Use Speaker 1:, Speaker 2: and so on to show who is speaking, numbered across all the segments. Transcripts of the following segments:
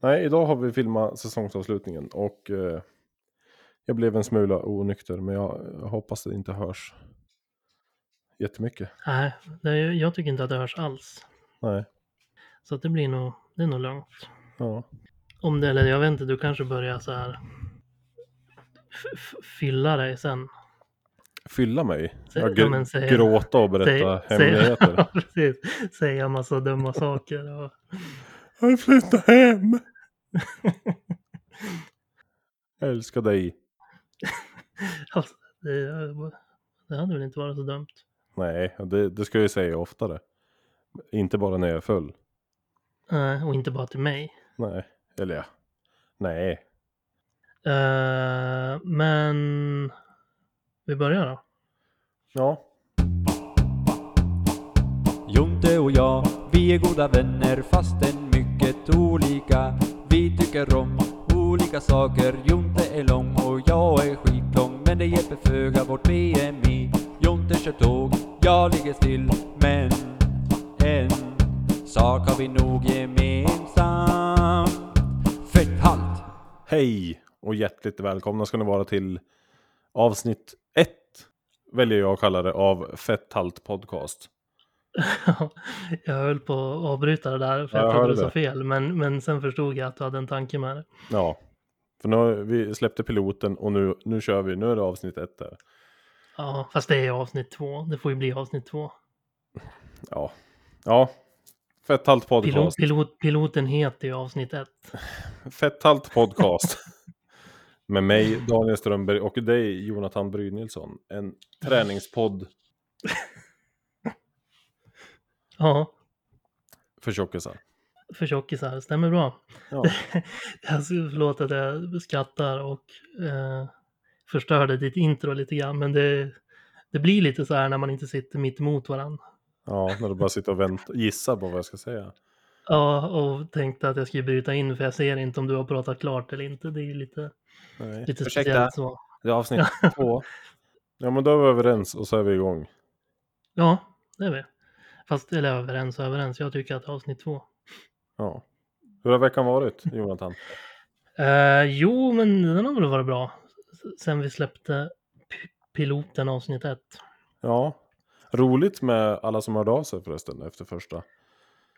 Speaker 1: Nej, idag har vi filmat säsongsavslutningen och eh, jag blev en smula onykter men jag, jag hoppas det inte hörs jättemycket.
Speaker 2: Nej, det, jag tycker inte att det hörs alls.
Speaker 1: Nej,
Speaker 2: Så att det blir nog, det är nog lugnt.
Speaker 1: ja.
Speaker 2: Om det, eller jag vet inte, du kanske börjar så här f- f- fylla dig sen.
Speaker 1: Fylla mig.
Speaker 2: Sä-
Speaker 1: Jag
Speaker 2: ja,
Speaker 1: gr-
Speaker 2: men säg-
Speaker 1: gråta och berätta hemligheter.
Speaker 2: ja, precis. Säga massa dumma saker. Och,
Speaker 1: Jag vill flytta hem! jag älskar dig.
Speaker 2: alltså, det, det hade väl inte varit så dumt.
Speaker 1: Nej, det, det ska jag ju säga oftare. Inte bara när jag är full.
Speaker 2: Eh, och inte bara till mig.
Speaker 1: Nej, eller ja. Nej,
Speaker 2: Eh, men vi börjar då.
Speaker 1: ja.
Speaker 3: Jonte och jag, vi är goda vänner fastän mycket olika. Vi tycker om olika saker. Jonte är lång och jag är skitlång. Men det hjälper föga vårt BMI. Jonte kör tåg, jag ligger still. Men en sak har vi nog gemensamt. Fetthalt!
Speaker 1: Hej och hjärtligt välkomna ska ni vara till avsnitt 1. Väljer jag att kalla det av Fetthalt Podcast.
Speaker 2: jag höll på att avbryta det där för
Speaker 1: Ja,
Speaker 2: jag,
Speaker 1: jag
Speaker 2: trodde
Speaker 1: hörde
Speaker 2: du sa
Speaker 1: det.
Speaker 2: fel. Men, men sen förstod jag att du hade en tanke med det.
Speaker 1: Ja, för nu har vi släppte piloten och nu, nu kör vi. Nu är det avsnitt 1 där.
Speaker 2: Ja, fast det är avsnitt två. Det får ju bli avsnitt två.
Speaker 1: Ja, ja. Fetthalt
Speaker 2: Pilot,
Speaker 1: Podcast.
Speaker 2: pilot, piloten heter ju avsnitt ett.
Speaker 1: Fetthalt Podcast. Med mig Daniel Strömberg och dig Jonathan Brynilsson. En träningspodd
Speaker 2: Ja,
Speaker 1: för tjockisar.
Speaker 2: för tjockisar. Stämmer bra.
Speaker 1: Ja.
Speaker 2: Alltså, förlåt att jag skrattar och eh, förstörde ditt intro lite grann. Men det, det blir lite så här när man inte sitter mitt emot varandra.
Speaker 1: ja, när du bara sitter och väntar, gissar på vad jag ska säga.
Speaker 2: Ja, och tänkte att jag skulle bryta in för jag ser inte om du har pratat klart eller inte. Det är ju lite,
Speaker 1: Nej.
Speaker 2: lite speciellt så.
Speaker 1: Det är avsnitt två. Ja men då är vi överens och så är vi igång.
Speaker 2: Ja, det är vi. Fast, eller överens och överens. Jag tycker att avsnitt två.
Speaker 1: Ja. Hur har veckan varit Jonathan?
Speaker 2: Eh, jo, men den har väl varit bra. S- Sen vi släppte p- piloten avsnitt ett.
Speaker 1: Ja. Roligt med alla som hörde av sig förresten efter första.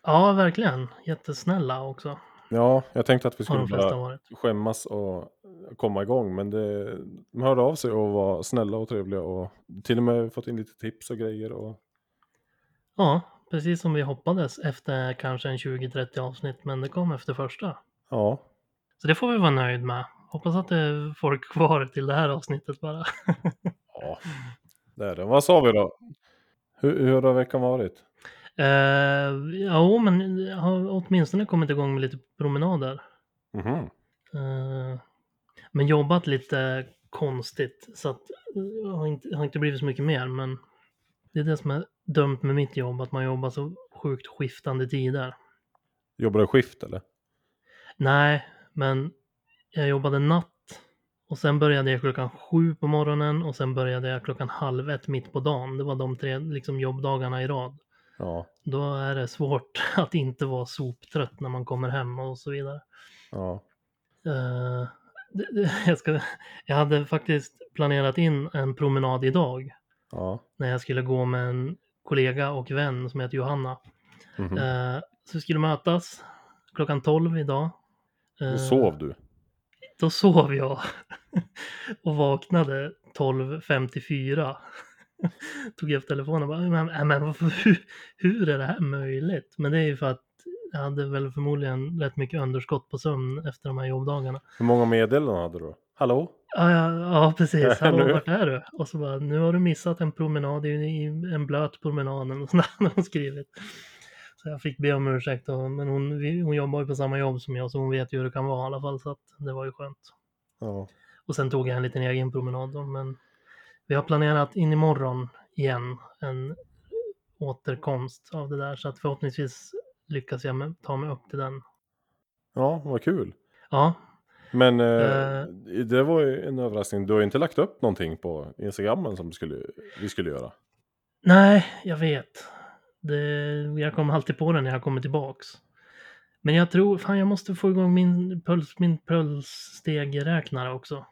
Speaker 2: Ja, verkligen. Jättesnälla också
Speaker 1: Ja, jag tänkte att vi
Speaker 2: har
Speaker 1: skulle
Speaker 2: de flesta
Speaker 1: bara
Speaker 2: varit.
Speaker 1: skämmas och komma igång. Men det, de hörde av sig och var snälla och trevliga och till och med fått in lite tips och grejer. Och,
Speaker 2: Ja, precis som vi hoppades efter kanske en 20-30 avsnitt, men det kom efter första.
Speaker 1: ja,
Speaker 2: Så det får vi vara nöjd med. Hoppas att det är folk kvar till det här avsnittet bara.
Speaker 1: ja. Det är det. Vad sa vi då? Hur, hur har veckan varit?
Speaker 2: Uh, ja, men jag har åtminstone kommit igång med lite promenader.
Speaker 1: Mhm.
Speaker 2: Eh, Men jobbat lite konstigt så att jag har inte, har inte blivit så mycket mer men det är det som är dumt med mitt jobb att man jobbar så sjukt skiftande tider.
Speaker 1: Jobbar du skift eller?
Speaker 2: Nej, men jag jobbade natt och sen började jag klockan sju på morgonen och sen började jag klockan halv ett mitt på dagen. Det var de tre liksom, jobbdagarna i rad.
Speaker 1: Ja.
Speaker 2: Då är det svårt att inte vara soptrött när man kommer hem och så vidare.
Speaker 1: ja.
Speaker 2: Eh, det- det- jag, ska, jag hade faktiskt planerat in en promenad idag
Speaker 1: Ja.
Speaker 2: när jag skulle gå med en kollega och vän som heter Johanna.
Speaker 1: Mhm.
Speaker 2: Eh, så vi skulle mötas klockan 12 idag. Eh,
Speaker 1: Då sov du.
Speaker 2: Då sov jag och vaknade 12.54. Tog upp telefonen och bara, men, nej, men varför- hur, hur är det här möjligt? Men det är ju för att jag hade väl förmodligen rätt mycket underskott på sömn efter de här jobbdagarna.
Speaker 1: Hur många meddelanden hade du då? Hallå?
Speaker 2: Ja, ja, ja precis. Hallå,
Speaker 1: nu-
Speaker 2: vart är du? Och så bara, nu har du missat en promenad, i i en blöt promenad eller något sånt där hade hon skrivit. Så jag fick be om ursäkt, och, men hon, vi- hon jobbar ju på samma jobb som jag så hon vet ju hur det kan vara i alla fall, så att det var ju skönt.
Speaker 1: Ja.
Speaker 2: Och sen tog jag en liten egen promenad då, men vi har planerat in imorgon igen en återkomst av det där, så att förhoppningsvis lyckas jag med, ta mig upp till den.
Speaker 1: Ja, vad kul.
Speaker 2: Ja,
Speaker 1: Men eh,
Speaker 2: Eh.
Speaker 1: det var ju en överraskning. Du har ju inte lagt upp någonting på Instagrammen som du skulle, vi skulle göra.
Speaker 2: Nej, jag vet. Det, jag kommer alltid på den när jag kommer tillbaks. Men jag tror, fan jag måste få igång min, puls, min pulsstegeräknare också.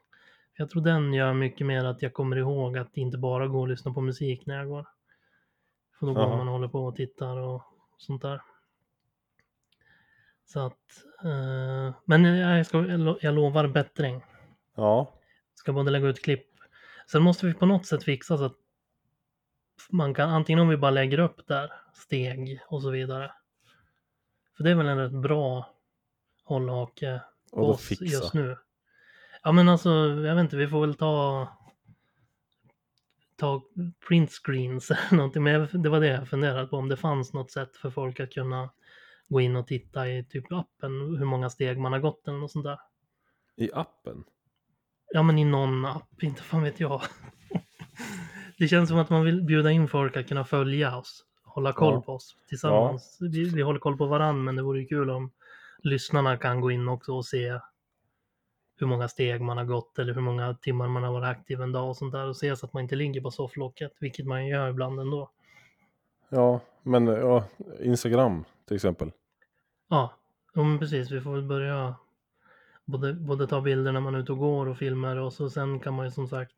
Speaker 2: Jag tror den gör mycket mer att jag kommer ihåg att inte bara gå och lyssna på musik när jag går. För då går
Speaker 1: Jaha.
Speaker 2: man och håller på och tittar och sånt där. Så att, eh, men jag, ska, jag lo- jag lovar bättring.
Speaker 1: Ja,
Speaker 2: Ska både lägga ut klipp. Sen måste vi på något sätt fixa så att man kan, antingen om vi bara lägger upp där, steg och så vidare. För det är väl en rätt bra hållhake
Speaker 1: och
Speaker 2: på
Speaker 1: då
Speaker 2: oss
Speaker 1: fixa.
Speaker 2: just nu. Ja men alltså, jag vet inte, vi får väl ta ta printscreens eller någonting. Men jag- det var det jag funderade på, om det fanns något sätt för folk att kunna gå in och titta i typ appen, hur många steg man har gått eller något sånt där.
Speaker 1: I appen?
Speaker 2: Ja men i någon app, inte fan vet jag. Det känns som att man vill bjuda in folk att kunna följa oss, hålla koll
Speaker 1: Ja.
Speaker 2: på oss tillsammans. Vi, vi håller koll på varandra men det vore ju kul om lyssnarna kan gå in också och se hur många steg man har gått eller hur många timmar man har varit aktiv en dag och sånt där och se så att man inte ligger på sofflocket, vilket man gör ibland ändå.
Speaker 1: Ja, men ja, Instagram till exempel.
Speaker 2: Ja, jo, men precis. Vi får väl börja både, både ta bilder när man är ute och går och filmer och så sen kan man ju som sagt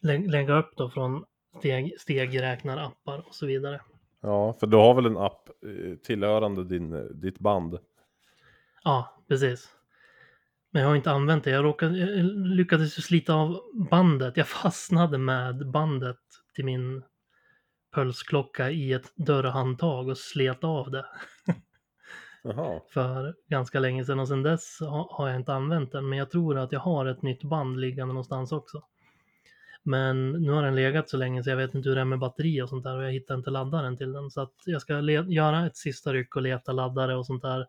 Speaker 2: lä- lägga upp då från steg, stegräknarappar och så vidare.
Speaker 1: Ja, för du har väl en app eh, tillhörande din, eh, ditt band?
Speaker 2: Ja, precis. Men jag har inte använt det. Jag, råkade, jag lyckades ju slita av bandet. Jag fastnade med bandet till min pulsklocka i ett dörrhandtag och slet av det.
Speaker 1: Jaha.
Speaker 2: för ganska länge sedan och sedan dess ha- har jag inte använt den. Men jag tror att jag har ett nytt band liggande någonstans också. Men nu har den legat så länge så jag vet inte hur det är med batteri och sånt där och jag hittar inte laddaren till den. Så att jag ska le- göra ett sista ryck och leta laddare och sånt där.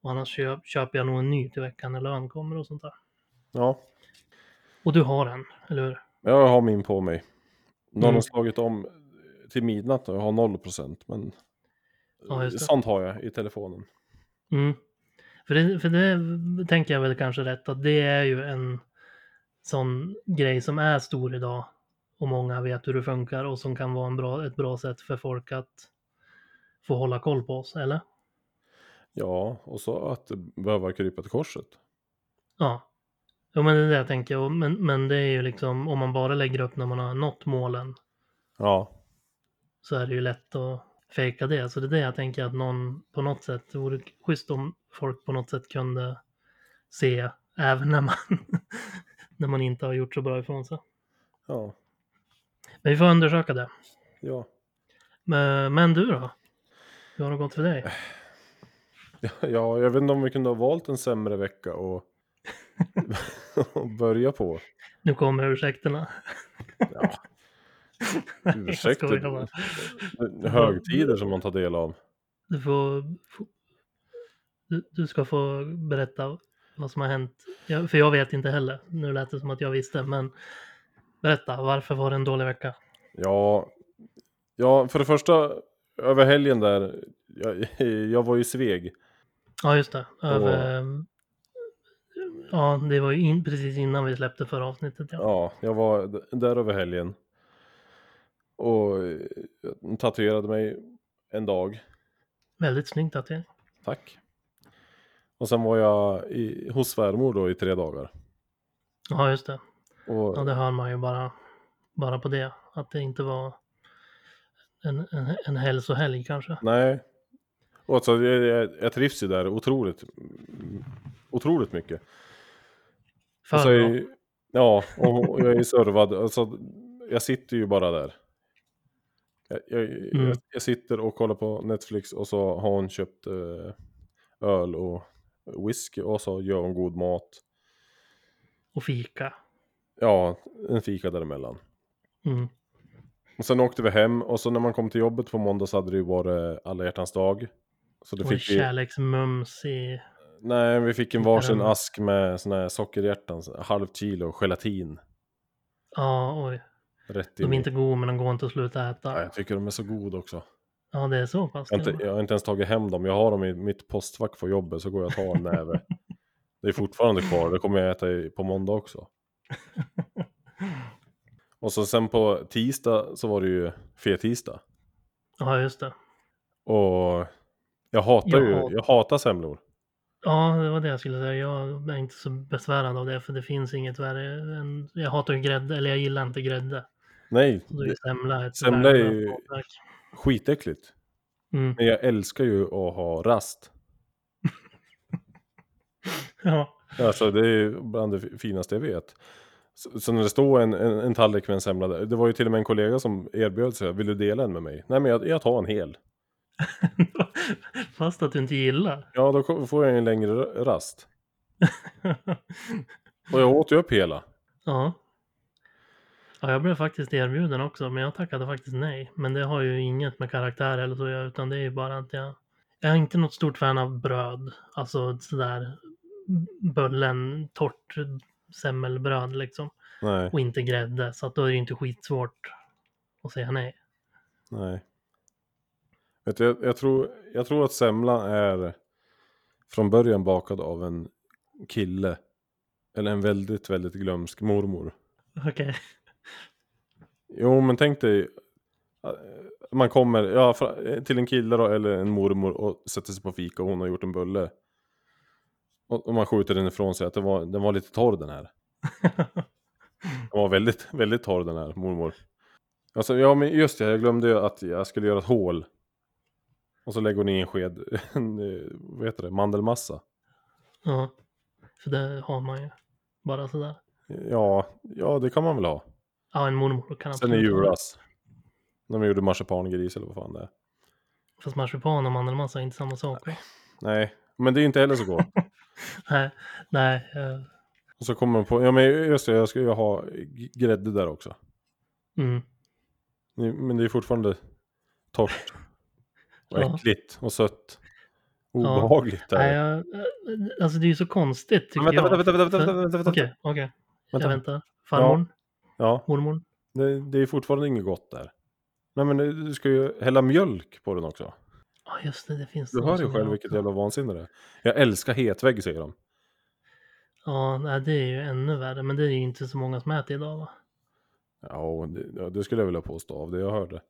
Speaker 2: Och annars köp- köper jag nog en ny till veckan när lön kommer och sånt där.
Speaker 1: Ja,
Speaker 2: Och du har en, eller hur?
Speaker 1: jag har min på mig. Nu har
Speaker 2: Mm.
Speaker 1: de slagit om till midnatt och jag har 0% men
Speaker 2: Ja, just det.
Speaker 1: sånt har jag i telefonen.
Speaker 2: Mm. För, det, för det tänker jag väl kanske rätt att det är ju en sån grej som är stor idag och många vet hur det funkar och som kan vara en bra, ett bra sätt för folk att få hålla koll på oss, eller?
Speaker 1: Ja, och så att behöva krypa till korset.
Speaker 2: Ja. Jo, men det är det jag tänker. Och- Men, men det är ju liksom om man bara lägger upp när man har nått målen
Speaker 1: Ja,
Speaker 2: så är det ju lätt att fejka det. Så det är det jag tänker att någon på något sätt, det vore schysst om folk på något sätt kunde se även när man, när man inte har gjort så bra ifrån sig.
Speaker 1: ja,
Speaker 2: Men vi får undersöka det.
Speaker 1: ja.
Speaker 2: Men, men du då? Hur har det gått för dig?
Speaker 1: Ja, jag vet inte om vi kunde ha valt en sämre vecka och, och börja på.
Speaker 2: Nu kommer ursäkterna.
Speaker 1: Ja.
Speaker 2: Jag
Speaker 1: Ursäkta.
Speaker 2: skojar bara.
Speaker 1: Högtider som man tar del av.
Speaker 2: Du får... får- Du, du ska få berätta vad som har hänt. Jag, för jag vet inte heller. Nu lät det som att jag visste, men berätta. Varför var det en dålig vecka?
Speaker 1: Ja, ja för det första, över helgen där, jag, jag var ju sveg.
Speaker 2: Ja, just det. Över... ehm, Ja, det var ju in, precis innan vi släppte förra avsnittet. Ja.
Speaker 1: Ja, jag var d- där över helgen. Och eh, jag tatuerade mig en dag,
Speaker 2: Väldigt snyggt att det
Speaker 1: tack. Och sen var jag i, hos svärmor då i tre dagar.
Speaker 2: Ja, just det.
Speaker 1: Och,
Speaker 2: Ja, det hör man ju bara, bara på det. Att det inte var en, en, en hälsohelg kanske.
Speaker 1: Nej. Och alltså, jag, jag, jag trivs ju där otroligt, mm, otroligt mycket.
Speaker 2: För
Speaker 1: Alltså,
Speaker 2: bra.
Speaker 1: jag, ja, och och jag är ju servad. Alltså, jag sitter ju bara där. Jag, jag,
Speaker 2: Mm.
Speaker 1: jag, jag sitter och kollar på Netflix och så har hon köpt eh, öl och whisky och så gör hon god mat.
Speaker 2: Och fika.
Speaker 1: Ja, en fika däremellan.
Speaker 2: Mm.
Speaker 1: Och sen åkte vi hem och så när man kom till jobbet på måndag så hade det ju varit alla hjärtans dag. Så det
Speaker 2: Och
Speaker 1: fick vi...
Speaker 2: kärleksmums i...
Speaker 1: Nej, vi fick en varsin
Speaker 2: Karamell.
Speaker 1: ask med såna här sockerhjärtan, så- halvt kilo gelatin.
Speaker 2: Ja, oj.
Speaker 1: Rätt in
Speaker 2: De är
Speaker 1: i.
Speaker 2: inte goda men de går inte att sluta
Speaker 1: Ja,
Speaker 2: äta.
Speaker 1: jag tycker de är så goda också.
Speaker 2: Ja, det är så pass.
Speaker 1: Jag har,
Speaker 2: till och
Speaker 1: inte, jag har inte ens tagit hem dem. Jag har dem i mitt postfack på jobbet så går jag och tar en näve. Det är fortfarande kvar, det kommer jag äta i, på måndag också. Och så sen på tisdag så var det ju fettisdag.
Speaker 2: med. Ja, just det.
Speaker 1: Och Jag hatar ju,
Speaker 2: Jag-
Speaker 1: jag hatar semlor.
Speaker 2: Ja, det var det jag skulle säga. Jag är inte så besvärad av det, för det finns inget värre än... Jag hatar ju grädde, eller jag gillar inte grädde.
Speaker 1: Nej,
Speaker 2: Så då är ju semla ett
Speaker 1: Semla är ju-
Speaker 2: värdelöst bakverk.
Speaker 1: skitäckligt.
Speaker 2: Mm.
Speaker 1: Men jag älskar ju att ha rast.
Speaker 2: Ja.
Speaker 1: Alltså det är ju bland det finaste jag vet. Så, så när det står en, en, en tallrik med en semla där. Det var ju till och med en kollega som erbjöd sig. Vill du dela en med mig? Nej men jag, jag tar en hel.
Speaker 2: Fast att du inte gillar.
Speaker 1: Ja då ko- får jag en längre ra- rast. Och jag åt ju upp hela.
Speaker 2: Ja. Ja, jag blev faktiskt erbjuden också, men jag tackade faktiskt nej. Men det har ju inget med karaktär eller så att göra, utan det är ju bara att jag... Jag är inte något stort fan av bröd. Alltså sådär bullen, torrt semmelbröd liksom.
Speaker 1: Nej,
Speaker 2: Och inte grädde, så att då är det ju inte skitsvårt att säga nej.
Speaker 1: nej. Vet du, jag, jag, tror, jag tror att semlan är från början bakad av en kille. Eller en väldigt, väldigt glömsk mormor.
Speaker 2: Okej.
Speaker 1: Jo, men tänk dig. eh, Man kommer ja, fra- eh, till en kille då, eller en mormor och sätter sig på fika och hon har gjort en bulle. Och, och man skjuter den ifrån sig att den var, den var lite torr den här. Den var väldigt, väldigt torr den här mormor. Alltså, ja, men just det, jag glömde ju att jag skulle göra ett hål. Och så lägger hon i en sked, en, eh, vad heter det, mandelmassa.
Speaker 2: Ja. För det har man ju. Bara sådär.
Speaker 1: Ja, ja det kan man väl ha.
Speaker 2: Ja, en mormor kan
Speaker 1: Sen i
Speaker 2: absolut ha det.
Speaker 1: julas. När man gjorde marsipangris eller vad fan det är.
Speaker 2: Fast marsipan och mandelmassa är inte samma sak.
Speaker 1: Nej, men det är ju inte heller så gott.
Speaker 2: Nej, nej. eh,
Speaker 1: Och så kommer man på, ja men just det, jag ska ju ha g- grädde där också.
Speaker 2: Mm.
Speaker 1: Ni- Men det är fortfarande torrt. Och
Speaker 2: Ja.
Speaker 1: äckligt och sött. Obehagligt är
Speaker 2: Nej,
Speaker 1: det.
Speaker 2: jag, alltså det är ju så konstigt tycker
Speaker 1: Men Vänta,
Speaker 2: jag.
Speaker 1: vänta, vänta, vänta, vänta, vänta, vänta.
Speaker 2: Okej, okej. Jag
Speaker 1: vänta.
Speaker 2: väntar. Farmor,
Speaker 1: Ja,
Speaker 2: mormor.
Speaker 1: det, det är fortfarande inget gott där. Nej men du ska ju hälla mjölk på den också.
Speaker 2: Ja, just det, det finns
Speaker 1: Du
Speaker 2: de
Speaker 1: hör ju
Speaker 2: som
Speaker 1: själv
Speaker 2: har-
Speaker 1: vilket jävla vansinne det är. Jag älskar hetvägg säger de.
Speaker 2: Ja, nej, det är ju ännu värre. Men det är ju inte så många som äter idag va?
Speaker 1: Ja, och det, ja, det skulle jag vilja påstå av det jag hörde.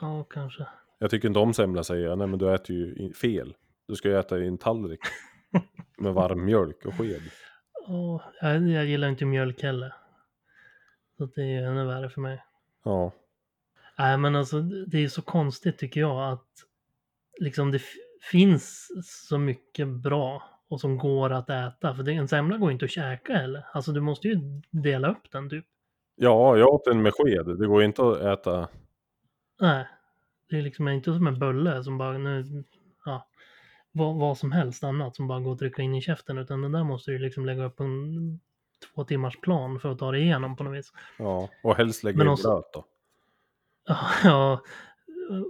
Speaker 2: Ja, kanske.
Speaker 1: Jag tycker inte om semla säger jag. Nej men du äter ju i- fel. Du ska ju äta i en tallrik. med varm mjölk och sked.
Speaker 2: Ja, jag, jag gillar inte mjölk heller. Så det är ju ännu värre för mig.
Speaker 1: Ja.
Speaker 2: Nej, men alltså det är ju så konstigt tycker jag att liksom det f- finns så mycket bra och som går att äta. För det, en semla går ju inte att käka heller. Alltså du måste ju dela upp den typ.
Speaker 1: Ja, jag åt en med sked. Det går inte att äta.
Speaker 2: Nej, det är liksom inte som en bulle som bara nu, ja, vad, vad som helst annat som bara går att trycka in i käften. Utan den där måste du ju liksom lägga upp en två timmars plan för att ta dig igenom på något vis.
Speaker 1: Ja, och helst lägga
Speaker 2: Men
Speaker 1: i
Speaker 2: också-
Speaker 1: gröt då.
Speaker 2: Ja,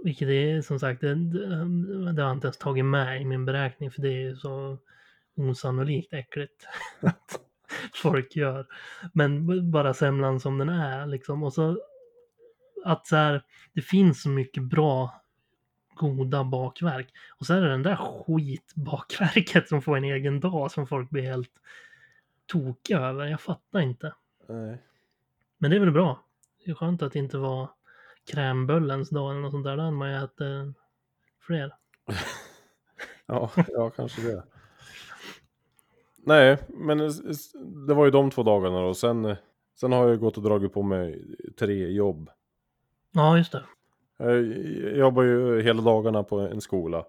Speaker 2: vilket är som sagt, det, det det har jag inte ens tagit med i min beräkning för det är ju så osannolikt äckligt att folk gör. Men b- bara semlan som den är liksom. Och så att så här, det finns så mycket bra, goda bakverk. Och så är det den där skitbakverket som får en egen dag som folk blir helt tokiga över. Jag fattar inte.
Speaker 1: Nej.
Speaker 2: Men det är väl bra. Det är skönt att det inte var krämbullens dag eller något sånt där. Då hade man ju ätit eh, fler.
Speaker 1: Ja, ja, kanske det. Nej, men s- s- det var ju de två dagarna då. Sen, eh, sen har jag gått och dragit på mig tre jobb.
Speaker 2: Ja, just det.
Speaker 1: Jag jobbar ju hela dagarna på en skola.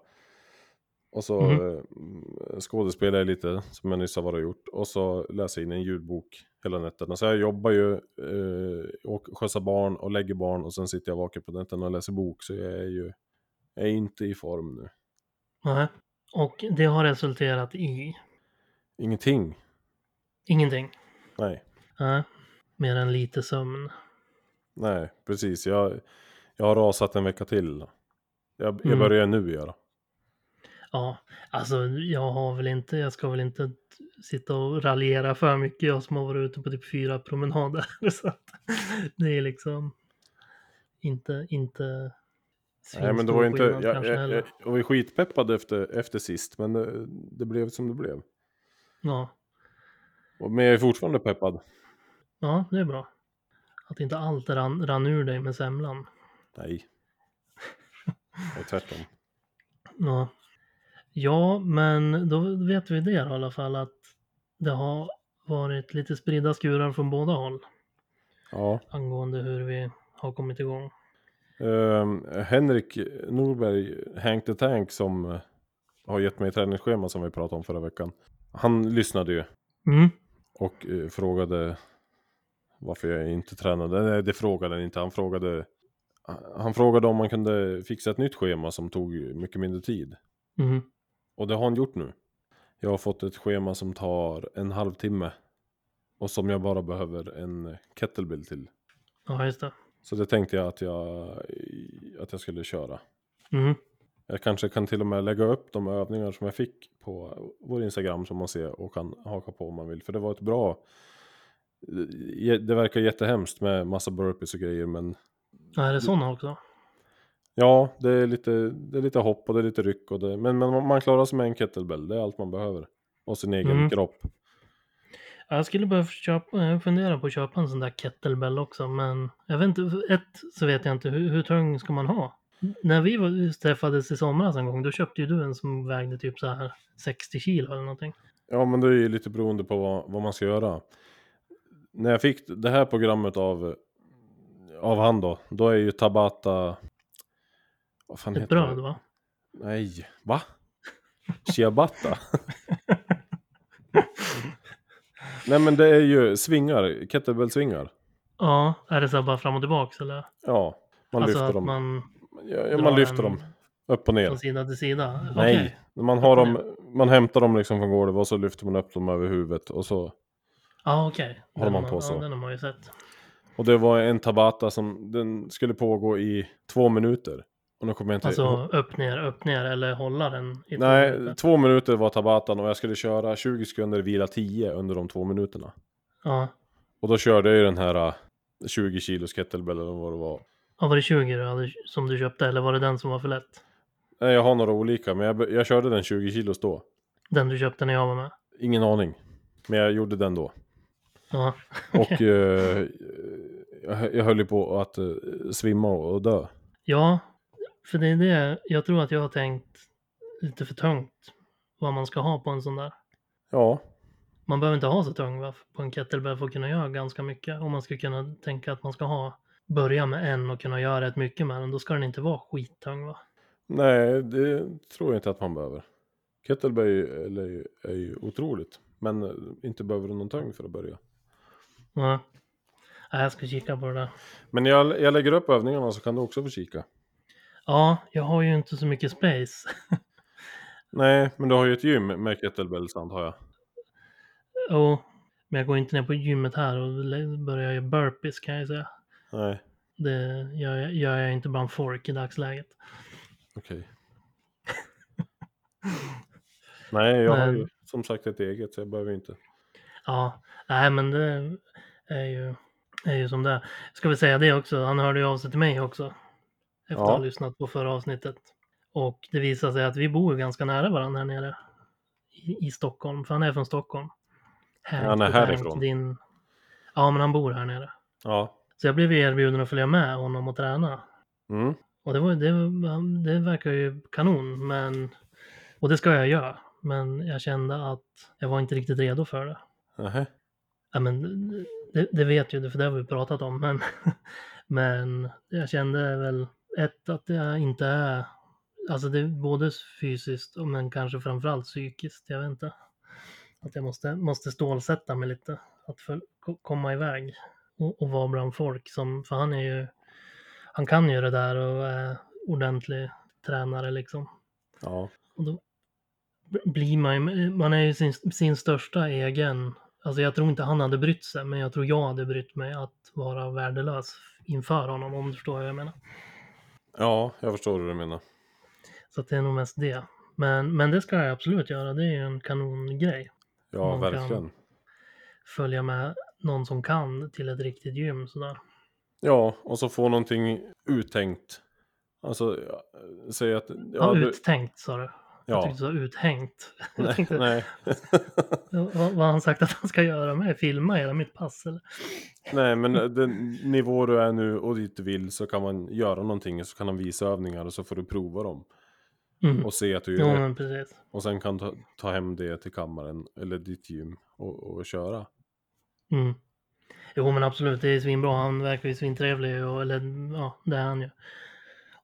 Speaker 1: Och så
Speaker 2: Mhm.
Speaker 1: eh, skådespelar jag lite, som jag nyss har varit och gjort. Och så läser jag in en ljudbok hela nätterna. Så jag jobbar ju, eh, och skjutsar barn och lägger barn och sen sitter jag vaken på nätterna och läser bok. Så jag är ju jag är inte i form nu.
Speaker 2: Nej. Och det har resulterat i
Speaker 1: Ingenting.
Speaker 2: ingenting.
Speaker 1: Nej,
Speaker 2: Nej. Mer än lite sömn.
Speaker 1: nej, precis. Jag, jag har rasat en vecka till. Jag, jag
Speaker 2: Mm.
Speaker 1: börjar nu göra.
Speaker 2: Ja, alltså jag har väl inte, jag ska väl inte t- sitta och raljera för mycket. Jag som har varit ute på typ fyra promenader. Så att det är liksom inte, inte
Speaker 1: Nej men det var ju inte,
Speaker 2: svinstor skillnad
Speaker 1: jag,
Speaker 2: kanske
Speaker 1: jag,
Speaker 2: heller.
Speaker 1: jag, jag var ju skitpeppad efter, efter sist men det, det blev som det blev.
Speaker 2: Ja.
Speaker 1: Och- Men jag är fortfarande peppad.
Speaker 2: Ja, det är bra. Att inte allt rann, rann ur dig med semlan.
Speaker 1: Nej. Nej tvärtom.
Speaker 2: Ja, Ja, men då vet vi det i alla fall att det har varit lite spridda skurar från båda håll
Speaker 1: Ja.
Speaker 2: angående hur vi har kommit igång.
Speaker 1: Ehm, Henrik Norberg, Hank the Tank, som eh, har gett mig träningsschema som vi pratade om förra veckan. Han lyssnade ju
Speaker 2: Mm.
Speaker 1: och eh, frågade varför jag inte tränade. Nej, det frågade han inte. Han frågade, han frågade om man kunde fixa ett nytt schema som tog mycket mindre tid.
Speaker 2: Mm.
Speaker 1: Och det har han gjort nu. Jag har fått ett schema som tar en halvtimme. Och som jag bara behöver en kettlebell till.
Speaker 2: Ja, just det.
Speaker 1: Så det tänkte jag att jag, att jag skulle köra.
Speaker 2: Mm.
Speaker 1: Jag kanske kan till och med lägga upp de övningar som jag fick på vår Instagram som man ser och kan haka på om man vill. För det var ett bra... eh, Det verkar jättehemskt med massa burpees och grejer men
Speaker 2: Ja, är det sådana också?
Speaker 1: ja, det är lite, det är lite hopp och det är lite ryck och det, men, men man klarar sig med en kettlebell, det är allt man behöver. Och sin egen
Speaker 2: Mm.
Speaker 1: kropp.
Speaker 2: Ja, Jag skulle behöva köpa, jag funderar på att köpa en sån där kettlebell också, men jag vet inte, ett så vet jag inte, hur, hur tung ska man ha? När vi var, träffades i somras en gång, då köpte ju du en som vägde typ så här 60 kilo eller någonting.
Speaker 1: Ja, men det är ju lite beroende på vad, vad man ska göra. När jag fick det här programmet av, av han då, då är ju Tabata... Vad fan
Speaker 2: Ett
Speaker 1: heter
Speaker 2: bröd
Speaker 1: det?
Speaker 2: va?
Speaker 1: Nej, va? Ciabatta? Nej men det är ju svingar, kettlebell-svingar.
Speaker 2: Ja, är det så här bara fram och tillbaks eller?
Speaker 1: Ja, man
Speaker 2: alltså
Speaker 1: lyfter
Speaker 2: att
Speaker 1: dem.
Speaker 2: man
Speaker 1: ja, ja,
Speaker 2: drar
Speaker 1: man lyfter
Speaker 2: en
Speaker 1: dem upp och ner.
Speaker 2: från sida till sida?
Speaker 1: Nej,
Speaker 2: Okej.
Speaker 1: man, har dem, man hämtar dem liksom från golvet och så lyfter man upp dem över huvudet och så
Speaker 2: Ja, okej.
Speaker 1: Håller
Speaker 2: Den
Speaker 1: man
Speaker 2: har-
Speaker 1: på så?
Speaker 2: Ja, den har man ju sett.
Speaker 1: Och det var en tabata som den skulle pågå i två minuter. Och nu kommer jag inte
Speaker 2: Alltså upp ner, upp ner eller hålla den i två
Speaker 1: Nej,
Speaker 2: minuter.
Speaker 1: två minuter var tabatan och jag skulle köra 20 sekunder, vila 10 under de två minuterna.
Speaker 2: Ja.
Speaker 1: Och då körde jag ju den här äh, 20 kilos kettlebell eller vad det var.
Speaker 2: ja, var det 20 du hade, som du köpte eller var det den som var för lätt?
Speaker 1: Nej, jag har några olika, men jag, be- jag körde den 20 kilos då.
Speaker 2: Den du köpte när jag var med?
Speaker 1: Ingen aning. Men jag gjorde den då.
Speaker 2: Ja,
Speaker 1: Och eh, jag, jag höll ju på att eh, svimma och, och dö.
Speaker 2: ja för det är det jag tror att jag har tänkt lite för tungt vad man ska ha på en sån där.
Speaker 1: Ja,
Speaker 2: Man behöver inte ha så tung va? på en kettlebell för att kunna göra ganska mycket. Om man ska kunna tänka att man ska ha börja med en och kunna göra rätt mycket med den, då ska den inte vara skittung va?
Speaker 1: Nej, det tror jag inte att man behöver. Kettlebell är ju, eller, är ju- är ju otroligt. Men eh, inte behöver du någon tung för att börja.
Speaker 2: Ja. Ja, jag ska kika på det där.
Speaker 1: Men jag, jag lägger upp övningarna så kan du också få kika.
Speaker 2: Ja, jag har ju inte så mycket space.
Speaker 1: Nej, men du har ju ett gym med kettlebells antar jag.
Speaker 2: Jo, men jag går inte ner på gymmet här och lä- börjar göra burpees kan jag ju säga.
Speaker 1: Nej,
Speaker 2: Det gör jag, gör jag inte bland folk i dagsläget.
Speaker 1: okej. Nej, jag har ju
Speaker 2: Men-
Speaker 1: som sagt ett eget så jag behöver ju inte.
Speaker 2: Ja, nej men det är ju, är ju som det är. Ska vi säga det också, han hörde ju av sig till mig också. Efter att
Speaker 1: Ja.
Speaker 2: ha lyssnat på förra avsnittet. Och det visar sig att vi bor ju ganska nära varandra här nere. I, i Stockholm, för han är från Stockholm. Hank
Speaker 1: Han är
Speaker 2: the Tank,
Speaker 1: härifrån.
Speaker 2: Din... Ja, men han bor här nere.
Speaker 1: Ja.
Speaker 2: Så jag blev ju erbjuden att följa med honom och träna.
Speaker 1: Mm.
Speaker 2: Och det, var, det, han- det verkar ju kanon, men... Och det ska jag göra. Men jag kände att jag var inte riktigt redo för det.
Speaker 1: Nähä.
Speaker 2: Ja, men det, det vet ju du, för det har vi pratat om. Men, men jag kände väl ett att jag inte är, alltså det är både fysiskt och men kanske framförallt psykiskt, jag vet inte. Att jag måste, måste stålsätta mig lite, att för, ko- komma iväg och, och vara bland folk. Som, för han är ju, han kan ju det där och är ordentlig tränare liksom.
Speaker 1: Ja.
Speaker 2: Och då b- blir man ju, man är ju sin, sin största egen, alltså jag tror inte han hade brytt sig, men jag tror jag hade brytt mig att vara värdelös inför honom, om du förstår vad jag menar.
Speaker 1: ja, jag förstår hur du menar.
Speaker 2: Så att det är nog mest det. Men, men det ska jag absolut göra, det är ju en kanongrej.
Speaker 1: Ja,
Speaker 2: Man kan-
Speaker 1: verkligen.
Speaker 2: Följa med någon som kan till ett riktigt gym sådär.
Speaker 1: Ja, och så få någonting uttänkt. Alltså, ja, säg att... Ja,
Speaker 2: Ja,
Speaker 1: du-
Speaker 2: uttänkt sa du. Jag
Speaker 1: ja.
Speaker 2: tyckte du sa uthängt. Jag tänkte,
Speaker 1: Nej,
Speaker 2: Vad, vad har han sagt att han ska göra med? Filma hela mitt pass eller?
Speaker 1: nej, men eh, den nivå du är nu och dit du vill så kan man göra någonting. Så kan man visa övningar och så får du prova dem.
Speaker 2: Mm.
Speaker 1: och se att du
Speaker 2: Jo,
Speaker 1: gör rätt.
Speaker 2: men precis.
Speaker 1: Och sen kan ta, ta hem det till kammaren eller ditt gym och, och köra.
Speaker 2: Mm. Jo, men absolut. Det är svinbra. Han verkar ju svintrevlig. Och, eller ja, det är han ju.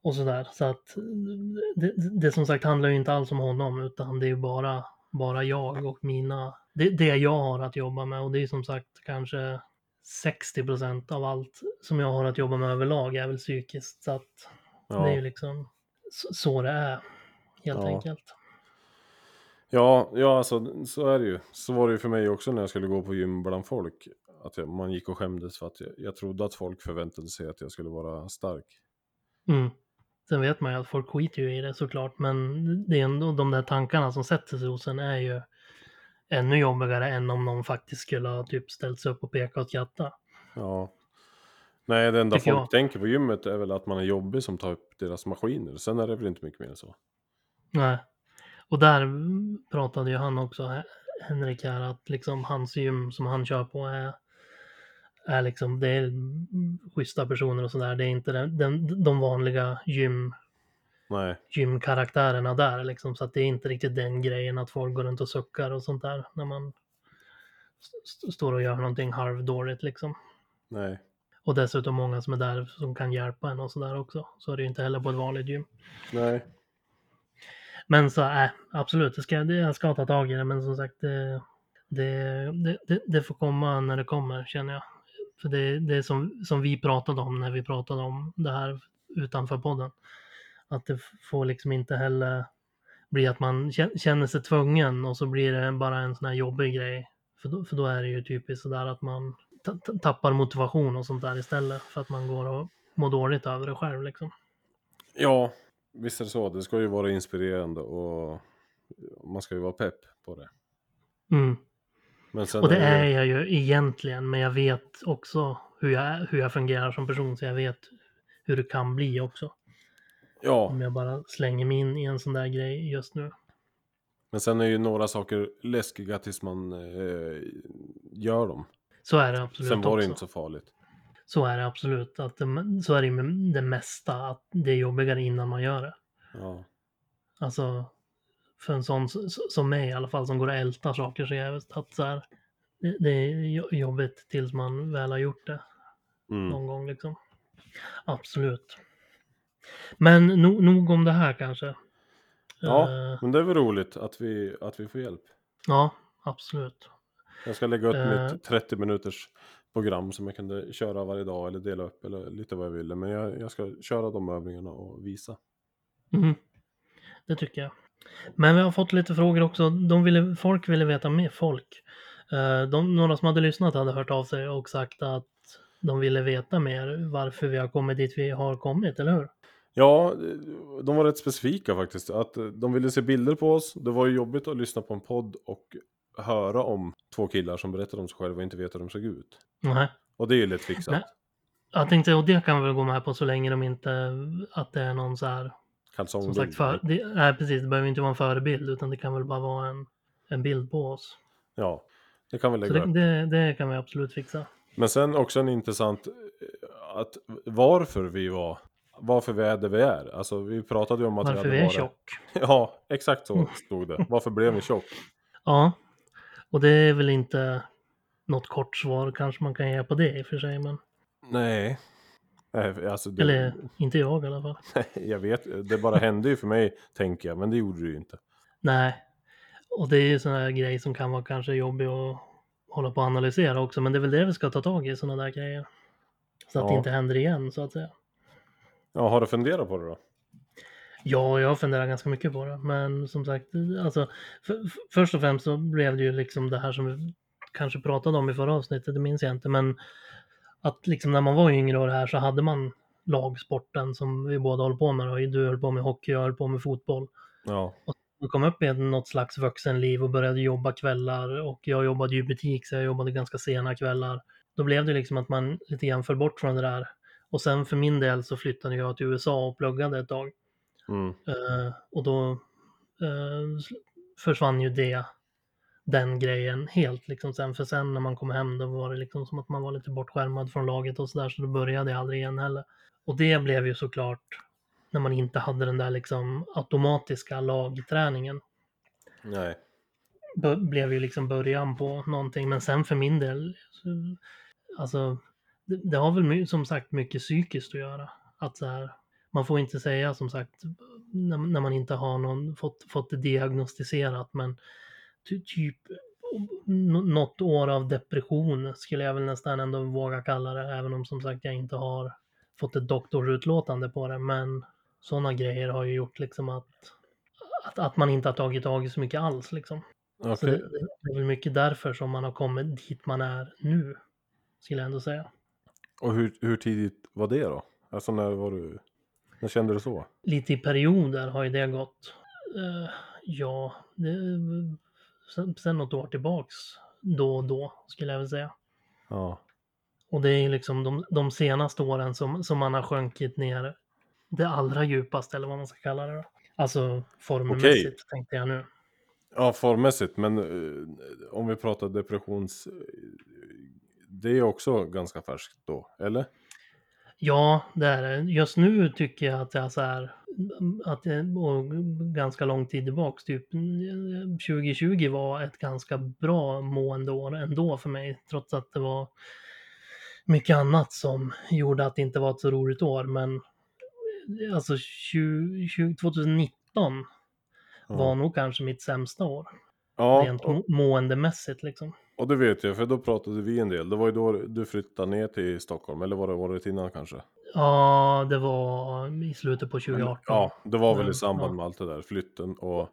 Speaker 2: Och sådär. Så att det, det- det som sagt handlar ju inte alls om honom. Utan det är ju bara, bara jag och mina. Det, det jag har att jobba med. Och det är som sagt kanske 60 procent av allt som jag har att jobba med överlag är väl psykiskt. Så att det är ju
Speaker 1: Ja,
Speaker 2: liksom så, så det är. Helt
Speaker 1: Ja.
Speaker 2: enkelt.
Speaker 1: ja, ja alltså, så är det ju. Så var det ju för mig också när jag skulle gå på gym bland folk. Att jag, man gick och skämdes för att jag, jag trodde att folk förväntade sig att jag skulle vara stark.
Speaker 2: Mm. Sen vet man ju att folk skiter ju i det såklart, men det är ändå de där tankarna som sätter sig hos en är ju ännu jobbigare än om någon faktiskt skulle ha typ ställt sig upp och pekat och skrattat.
Speaker 1: Ja. Nej, det enda
Speaker 2: Tycker
Speaker 1: folk
Speaker 2: jag.
Speaker 1: tänker på gymmet är väl att man är jobbig som tar upp deras maskiner. Sen är det väl inte mycket mer än så.
Speaker 2: Nej. Och där mm, pratade ju han också, He- Henrik här, att liksom hans gym som han kör på är, är liksom, det är mm, schyssta personer och sådär. Det är inte den, den, de vanliga gym
Speaker 1: Nej,
Speaker 2: gymkaraktärerna där liksom. Så att det är inte riktigt den grejen att folk går runt och suckar och sånt där när man st- st- står och gör någonting halvdåligt liksom.
Speaker 1: nej.
Speaker 2: Och dessutom många som är där som kan hjälpa en och sådär också. Så är det ju inte heller på ett vanligt gym.
Speaker 1: Nej.
Speaker 2: Men så, äh, absolut, det ska, det, jag ska ta tag i det. Men som sagt, det, det, det, det, det får komma när det kommer känner jag. För det, det är som, som vi pratade om när vi pratade om det här utanför podden. Att det får liksom inte heller bli att man kä- känner sig tvungen och så blir det bara en sån här jobbig grej. För då, för då är det ju typiskt sådär att man ta- ta- tappar motivation och sånt där istället. För att man går och mår dåligt över det själv liksom.
Speaker 1: Ja, visst är det så. Det ska ju vara inspirerande och man ska ju vara pepp på det.
Speaker 2: Mm.
Speaker 1: Men sen
Speaker 2: Och det är
Speaker 1: ju-
Speaker 2: jag ju egentligen, men jag vet också hur jag, är- hur jag fungerar som person, så jag vet hur det kan bli också.
Speaker 1: Ja,
Speaker 2: Om jag bara slänger mig in i en sån där grej just nu.
Speaker 1: men sen är ju några saker läskiga tills man eh, gör dem.
Speaker 2: Så är det absolut
Speaker 1: Sen var det
Speaker 2: också.
Speaker 1: inte så farligt.
Speaker 2: Så är det absolut. Att det, så är det med det mesta, att det är jobbigare innan man gör det.
Speaker 1: Ja,
Speaker 2: Alltså, för en sån s- som mig i alla fall, som går och ältar saker så jävligt, att så här, det, det är jo- jobbigt tills man väl har gjort det.
Speaker 1: mm.
Speaker 2: någon gång liksom. Absolut. Men no, nog om det här kanske.
Speaker 1: ja
Speaker 2: Eh,
Speaker 1: men det är väl roligt att vi, att vi får hjälp.
Speaker 2: ja absolut.
Speaker 1: Jag ska lägga upp
Speaker 2: Eh.
Speaker 1: mitt 30 minuters program som jag kunde köra varje dag eller dela upp eller lite vad jag ville. Men jag, jag ska köra de övningarna och visa.
Speaker 2: Mhm. Det tycker jag. Men vi har fått lite frågor också. De ville, folk ville veta mer. Folk. Eh, de, några som hade lyssnat hade hört av sig och sagt att de ville veta mer varför vi har kommit dit vi har kommit, eller hur?
Speaker 1: Ja, eh, de var rätt specifika faktiskt. Att eh, de ville se bilder på oss. Det var ju jobbigt att lyssna på en podd och höra om två killar som berättade om sig själva och inte vet hur de såg ut.
Speaker 2: Nej.
Speaker 1: Och det är ju lätt fixat.
Speaker 2: Nej. Jag tänkte, och det kan vi väl gå med på så länge de inte, att det är någon så här
Speaker 1: Kalsongbild.
Speaker 2: Som sagt, för, det, nej, precis, det behöver inte vara en förebild utan det kan väl bara vara en, en bild på oss.
Speaker 1: Ja, det kan vi
Speaker 2: Så
Speaker 1: lägga
Speaker 2: det,
Speaker 1: upp.
Speaker 2: det, det kan vi absolut fixa.
Speaker 1: Men sen också en intressant eh, att varför vi var varför vi är där vi är. Alltså vi pratade ju om att
Speaker 2: Varför
Speaker 1: vi
Speaker 2: vi
Speaker 1: hade
Speaker 2: är
Speaker 1: varit-
Speaker 2: tjock.
Speaker 1: Ja, exakt
Speaker 2: Mm.
Speaker 1: så stod det. Varför blev vi tjock?
Speaker 2: Ja, och det är väl inte något kort svar kanske man kan ge på det i och för sig. Men,
Speaker 1: Nej. Nej, alltså det,
Speaker 2: Eller inte jag i alla fall.
Speaker 1: jag vet, det bara hände ju för mig, tänker jag, men det gjorde det ju inte.
Speaker 2: Nej, och det är ju sådana grej som kan vara kanske jobbig att hålla på och analysera också. Men det är väl det vi ska ta tag i, sådana där grejer. Så att det
Speaker 1: Ja.
Speaker 2: inte händer igen så att säga.
Speaker 1: Ja, har du funderat på det då?
Speaker 2: Ja, jag funderar ganska mycket på det. Men som sagt, alltså, för, för, först och främst så blev det ju liksom det här som vi kanske pratade om i förra avsnittet, det minns jag inte. Men att liksom när man var yngre och det här så hade man lagsporten som vi båda håller på med. Då. Du höll på med hockey, jag höll på med fotboll.
Speaker 1: Ja,
Speaker 2: Jag kom upp i ett- något slags vuxenliv och började jobba kvällar och jag jobbade ju i butik så jag jobbade ganska sena kvällar. Då blev det liksom att man lite grann föll bort från det där. Och sen för min del så flyttade jag till USA och pluggade ett tag.
Speaker 1: mm.
Speaker 2: Eh, och då eh, s- försvann ju det, den grejen helt liksom sen. För sen när man kom hem då var det liksom som att man var lite bortskärmad från laget och sådär. Så då började jag aldrig igen heller. Och det blev ju såklart När man inte hade den där liksom automatiska lagträningen.
Speaker 1: Nej.
Speaker 2: B- blev ju liksom början på någonting. Men sen för min del, så- alltså, det, det har väl my- som sagt mycket psykiskt att göra. Att så här, man får inte säga som sagt när, när man inte har någon, fått, fått det diagnostiserat. Men ty, typ n- något år av depression skulle jag väl nästan ändå våga kalla det. Även om som sagt jag inte har fått ett doktorutlåtande på det. Men sådana grejer har ju gjort liksom att, att, att man inte har tagit tag i så mycket alls liksom. Så
Speaker 1: Okej.
Speaker 2: det, det är väl mycket därför som man har kommit dit man är nu. Skulle jag ändå säga.
Speaker 1: Och hur, hur tidigt var det då? Alltså när var du... När kände du så?
Speaker 2: Lite i perioder har ju det gått. Eh, ja, det, sen, sen något år tillbaks då och då skulle jag väl säga.
Speaker 1: Ja.
Speaker 2: Och det är ju liksom de, de senaste åren som, som man har sjunkit ner det allra djupaste eller vad man ska kalla det. Då. Alltså formmässigt tänkte jag nu.
Speaker 1: Ja, formmässigt. Men eh, om vi pratar depressions... eh, Det är också ganska färskt då, eller?
Speaker 2: Ja, det är det. Just nu tycker jag att jag så här, mm, att det, och ganska lång tid tillbaks, typ 2020 var ett ganska bra mående år ändå för mig, trots att det var mycket annat som gjorde att det inte var ett så roligt år, men alltså 20, 20, 2019
Speaker 1: Ja.
Speaker 2: var nog kanske mitt sämsta år,
Speaker 1: Ja,
Speaker 2: rent
Speaker 1: och,
Speaker 2: må- måendemässigt liksom.
Speaker 1: och det vet jag, för då pratade vi en del. Det var ju då du flyttade ner till Stockholm, eller var det året innan kanske?
Speaker 2: Ja, det var i slutet på 2018.
Speaker 1: Ja, det var väl
Speaker 2: Men,
Speaker 1: i samband
Speaker 2: ja.
Speaker 1: med allt det där, flytten och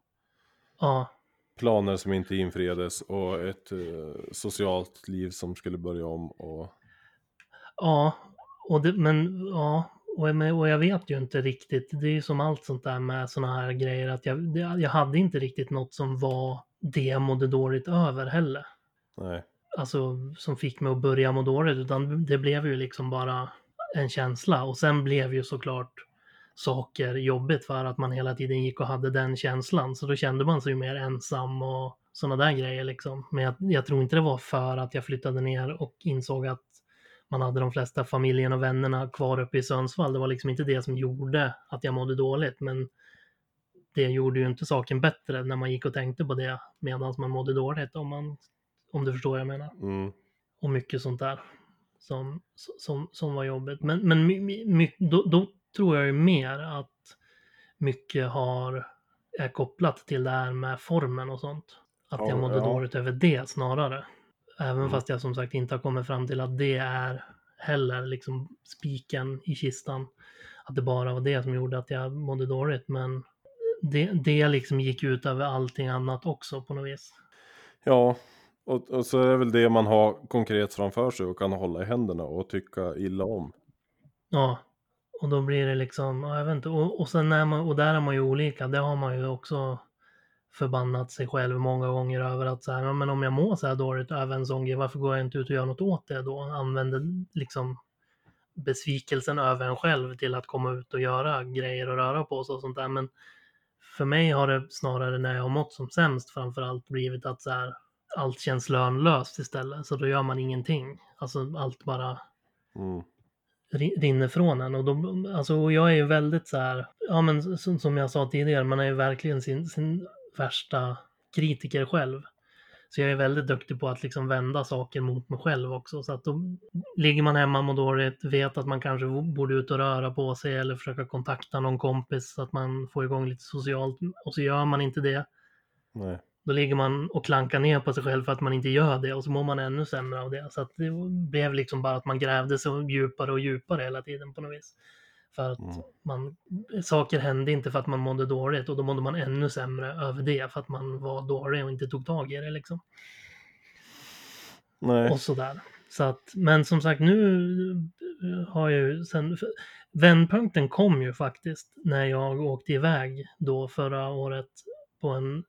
Speaker 2: ja.
Speaker 1: planer som inte infreddes och ett eh, socialt liv som skulle börja om och...
Speaker 2: Ja, och det, men ja, och, jag- men- och jag vet ju inte riktigt. Det är ju som allt sånt där med såna här grejer att jag, det, jag hade inte riktigt något som var det jag mådde dåligt över heller.
Speaker 1: Nej.
Speaker 2: Alltså som fick mig att börja må dåligt, utan det blev ju liksom bara en känsla. Och sen blev ju såklart saker jobbigt för att man hela tiden gick och hade den känslan. Så då kände man sig ju mer ensam och sådana där grejer liksom. Men jag, jag tror inte det var för att jag flyttade ner och insåg att man hade de flesta familjen och vännerna kvar uppe i Sundsvall. Det var liksom inte det som gjorde att jag mådde dåligt, men det gjorde ju inte saken bättre när man gick och tänkte på det medan man mådde dåligt, om, man, om du förstår vad jag menar
Speaker 1: Mm.
Speaker 2: och mycket sånt där som, som, som var jobbigt. Men, men my, my, my, då, då tror jag ju mer att mycket har, är kopplat till det här med formen och sånt. Att
Speaker 1: Ja,
Speaker 2: jag mådde
Speaker 1: ja.
Speaker 2: dåligt över det snarare. Även
Speaker 1: Mm.
Speaker 2: fast jag som sagt inte har kommit fram till att det är heller liksom spiken i kistan. Att det bara var det som gjorde att jag mådde dåligt. Men det, det liksom gick ut över allting annat också på något vis.
Speaker 1: Ja, och, och så är det väl det man har konkret framför sig och kan hålla i händerna och tycka illa om.
Speaker 2: Ja, och då blir det liksom, ja, jag vet inte, och, och sen är man, och där är man ju olika, det har man ju också förbannat sig själv många gånger över att så här, ja, men om jag mår så här dåligt över en sån grej, varför går jag inte ut och gör något åt det då? Använder liksom besvikelsen över en själv till att komma ut och göra grejer och röra på sig och sånt där. Men för mig har det snarare när jag har mått som sämst framförallt blivit att så här, allt känns lönlöst istället, så då gör man ingenting. Alltså allt bara
Speaker 1: Mm.
Speaker 2: ri- rinner från en. Och, de, alltså, och jag är ju väldigt så här, ja men som, som jag sa tidigare, man är ju verkligen sin, sin värsta kritiker själv. Så jag är väldigt duktig på att liksom vända saker mot mig själv också. Så att då ligger man hemma och mår dåligt, vet att man kanske borde ut och röra på sig eller försöka kontakta någon kompis så att man får igång lite socialt. Och så gör man inte det.
Speaker 1: Nej.
Speaker 2: Då ligger man och klankar ner på sig själv för att man inte gör det och så mår man ännu sämre av det. Så att det blev liksom bara att man grävde sig djupare och djupare hela tiden på något vis. För att
Speaker 1: Mm.
Speaker 2: man, saker hände inte för att man mådde dåligt och då mådde man ännu sämre över det för att man var dålig och inte tog tag i det liksom.
Speaker 1: Nej.
Speaker 2: Och sådär. Så att, men som sagt nu eh, har jag ju sen, för- vändpunkten kom ju faktiskt när jag åkte iväg då förra året på en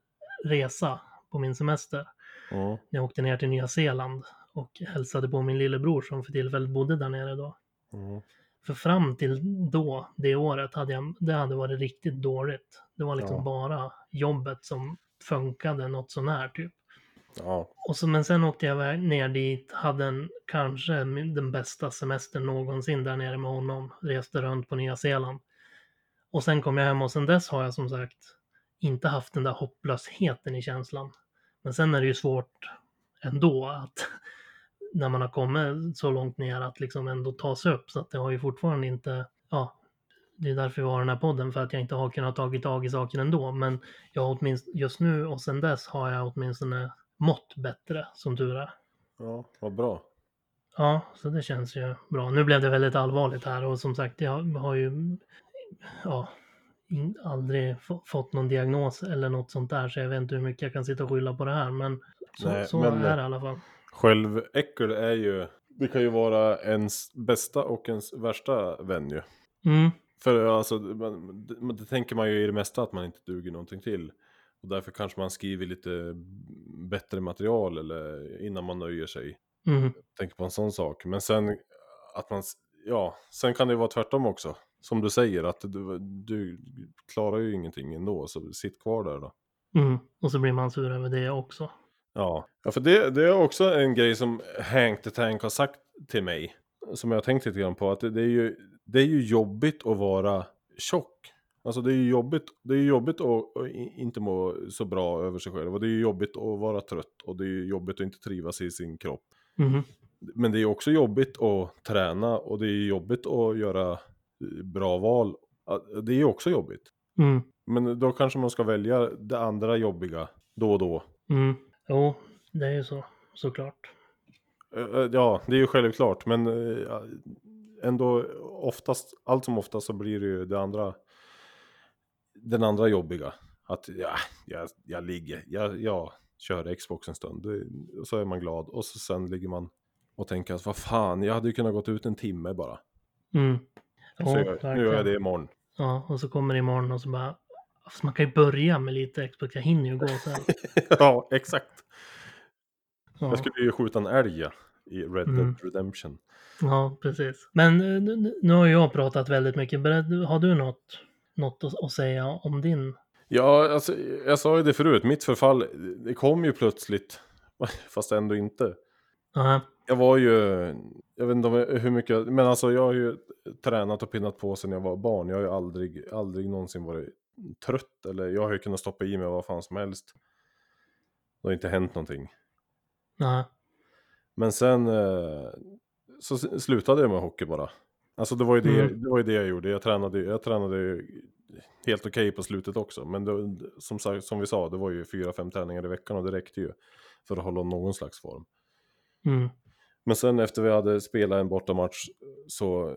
Speaker 2: resa på min semester.
Speaker 1: Ja.
Speaker 2: när jag åkte ner till Nya Zeeland och hälsade på min lillebror som för tillfället bodde där nere då.
Speaker 1: Ja.
Speaker 2: För fram till då, det året, hade jag, det hade varit riktigt dåligt. Det var liksom
Speaker 1: Ja.
Speaker 2: bara jobbet som funkade något sånär typ.
Speaker 1: ja.
Speaker 2: Och så, men sen åkte jag iväg ner dit, hade en, kanske min- den bästa semestern någonsin där nere med honom. Reste runt på Nya Zeeland. Och sen kom jag hem och sen dess har jag som sagt inte haft den där hopplösheten i känslan. Men sen är det ju svårt ändå att när man har kommit så långt ner att liksom ändå ta sig upp. Så att det har ju fortfarande inte, ja, det är därför vi har den här podden, för att jag inte har kunnat tagit tag i saker ändå. Men jag har åtminstone, just nu och sen dess har jag åtminstone mått bättre, som tur är.
Speaker 1: Ja, vad bra.
Speaker 2: Ja, så det känns ju bra. Nu blev det väldigt allvarligt här och som sagt, jag har ju ja, in, aldrig få- fått någon diagnos eller något sånt där, så jag vet inte hur mycket jag kan sitta och skylla på det här, men så,
Speaker 1: Nej,
Speaker 2: så
Speaker 1: men-
Speaker 2: är det i alla fall.
Speaker 1: Själväckel är ju, det kan ju vara ens bästa och ens värsta vän ju.
Speaker 2: Mm,
Speaker 1: För alltså, man, det, men det tänker man ju i det mesta att man inte duger någonting till. Och därför kanske man skriver lite bättre material eller innan man nöjer sig.
Speaker 2: mm,
Speaker 1: Tänker på en sån sak. Men sen att man, s- ja, sen kan det ju vara tvärtom också. Som du säger, att du, du klarar ju ingenting ändå, så sitt kvar där då.
Speaker 2: mm. Och så blir man sur över det också.
Speaker 1: Ja, ja för det, det är också en grej som Hank the Tank har sagt till mig. Som jag har tänkt lite grann på. Att det, det, är ju, det är ju jobbigt att vara tjock. Alltså det är ju jobbigt, det är ju jobbigt att, att i- inte må så bra över sig själv. Och det är ju jobbigt att vara trött. Och det är ju jobbigt att inte trivas i sin kropp.
Speaker 2: Mm,
Speaker 1: Men det är ju också jobbigt att träna. Och det är ju jobbigt att göra eh, bra val. Ja, Det är ju också jobbigt.
Speaker 2: mm,
Speaker 1: Men då kanske man ska välja det andra jobbiga då och då.
Speaker 2: mm. Jo, det är ju så, såklart.
Speaker 1: Eh, eh, Ja, det är ju självklart, men eh, ändå oftast, allt som oftast så blir det ju det andra, den andra jobbiga. Att ja, jag, jag ligger, jag, jag kör Xbox en stund, det- och så är man glad och så sen ligger man och tänker att vad fan, jag hade ju kunnat gått ut en timme bara.
Speaker 2: Mm. Jo,
Speaker 1: så Alltså, jag, nu gör jag
Speaker 2: verkligen.
Speaker 1: det imorgon.
Speaker 2: Ja, och så kommer det imorgon och så bara, fast man kan ju börja med lite Xbox, jag hinner ju gå sen.
Speaker 1: ja, exakt.
Speaker 2: Ja,
Speaker 1: Jag skulle ju skjuta en älg ja, i Red Dead
Speaker 2: Mm.
Speaker 1: Redemption.
Speaker 2: ja precis. Men eh, nu- nu, nu har jag pratat väldigt mycket, Beredd- har du något, något att, att säga om din?
Speaker 1: Ja, alltså, jag sa ju det förut, mitt förfall, det kom ju plötsligt, fast ändå inte.
Speaker 2: Ja,
Speaker 1: Jag var ju, jag vet inte om jag- hur mycket, men alltså jag har ju tränat och pinnat på sedan jag var barn. Jag har ju aldrig, aldrig någonsin varit trött eller jag har ju kunnat stoppa i mig vad fan som helst. Det har inte hänt någonting.
Speaker 2: ja,
Speaker 1: Men sen eh, så s- slutade jag med hockey bara. Alltså det var ju det,
Speaker 2: Mm.
Speaker 1: det, var ju det jag gjorde. Jag tränade, ju- jag tränade ju helt okej på slutet också. Men det, som, sagt, som vi sa, det var ju fyra, fem träningar i veckan och det räckte ju för att hålla någon slags form.
Speaker 2: mm,
Speaker 1: Men sen efter vi hade spelat en bortamatch så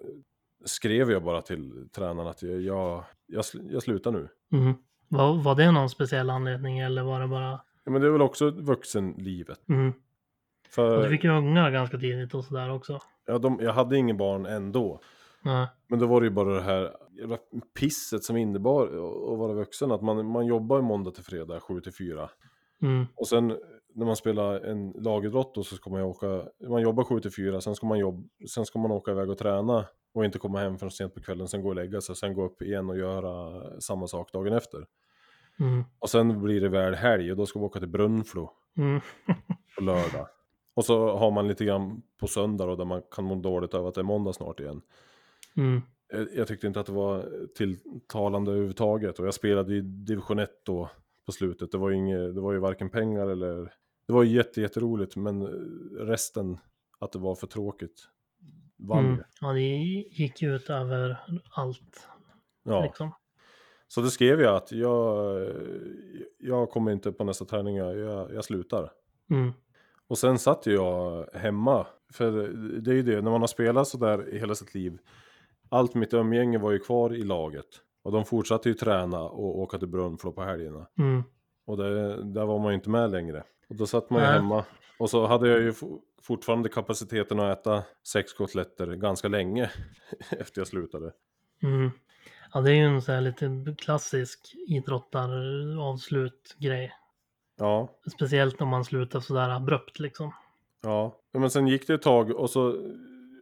Speaker 1: skrev jag bara till tränaren att jag, jag, jag, sl- jag slutar nu.
Speaker 2: mm. Var, var det någon speciell anledning eller var det bara?
Speaker 1: Ja, men det är väl också vuxenlivet.
Speaker 2: Mm. Och du
Speaker 1: För
Speaker 2: fick ju unga ganska tidigt och sådär också.
Speaker 1: ja, de, jag hade ingen barn ändå.
Speaker 2: Ja,
Speaker 1: Men då var det ju bara det här jävla pisset som innebar att vara vuxen. Att man, man jobbar ju måndag till fredag 7 till 4.
Speaker 2: mm,
Speaker 1: Och sen eh, när man spelar en lagidrott då så ska man ju åka, man jobbar 7 till 4, sen ska man, jobb, sen ska man åka iväg och träna och inte komma hem förrän sent på kvällen, sen gå och lägga sig, sen gå upp igen och göra samma sak dagen efter.
Speaker 2: mm,
Speaker 1: Och sen blir det väl helg och då ska vi åka till Brunflo
Speaker 2: mm,
Speaker 1: på lördag. Och så har man lite grann på söndag då, där man kan må dåligt över att det är måndag snart igen.
Speaker 2: mm,
Speaker 1: Jag, Eh, jag tyckte inte att det var tilltalande överhuvudtaget. Och jag spelade i division 1 då på slutet. Det var ju, inge, det var ju varken pengar eller... Det var ju jätte, jätteroligt, men eh, resten, att det var för tråkigt, vann
Speaker 2: mm.
Speaker 1: ju.
Speaker 2: Ja, det gick ju ut över allt
Speaker 1: Ja.
Speaker 2: liksom.
Speaker 1: Så det skrev jag att jag, eh, jag kommer inte på nästa träning, jag, jag, jag slutar.
Speaker 2: Mm,
Speaker 1: Och sen satt ju jag hemma. För det är ju det, när man har spelat sådär i hela sitt liv. Allt mitt umgänge var ju kvar i laget. Och de fortsatte ju träna och åka till Brunflo på helgerna.
Speaker 2: mm,
Speaker 1: Och det, där var man ju inte med längre. Och då satt man ju
Speaker 2: Nej.
Speaker 1: hemma. Och så hade jag ju fo- fortfarande kapaciteten att äta sex kotletter ganska länge. efter jag slutade.
Speaker 2: mm. Ja, det är ju en så här lite klassisk idrottaravslut-grej.
Speaker 1: Ja,
Speaker 2: Speciellt om man slutar sådär abrupt liksom.
Speaker 1: Ja, Ja, men sen gick det ett tag och så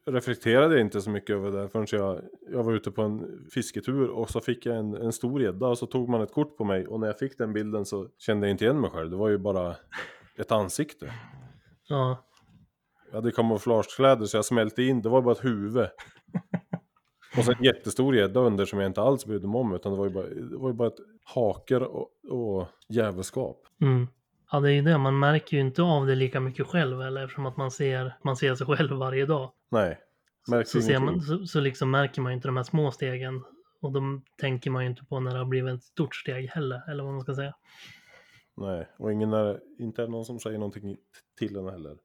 Speaker 1: reflekterade jag inte så mycket över det förrän jag, jag var ute på en fisketur och så fick jag en, en stor gädda och så tog man ett kort på mig och när jag fick den bilden så kände jag inte igen mig själv. Det var ju bara ett ansikte.
Speaker 2: Ja,
Speaker 1: Jag hade kamouflagekläder så jag smälte in, det var bara ett huvud. Och sen en jättestor gädda under som jag inte alls brydde mig om. Utan det var ju bara, det var ju bara ett haker och, och jävelskap.
Speaker 2: Mm. Ja, det är ju det. Man märker ju inte av det lika mycket själv eller eftersom att man ser, man ser sig själv varje dag.
Speaker 1: Nej, märks
Speaker 2: Så, ser man,
Speaker 1: ingenting.
Speaker 2: så, så liksom märker man ju inte de här små stegen. Och de tänker man ju inte på när det har blivit ett stort steg heller, eller vad man ska säga.
Speaker 1: Nej, och ingen är, inte är det någon som säger någonting till en heller.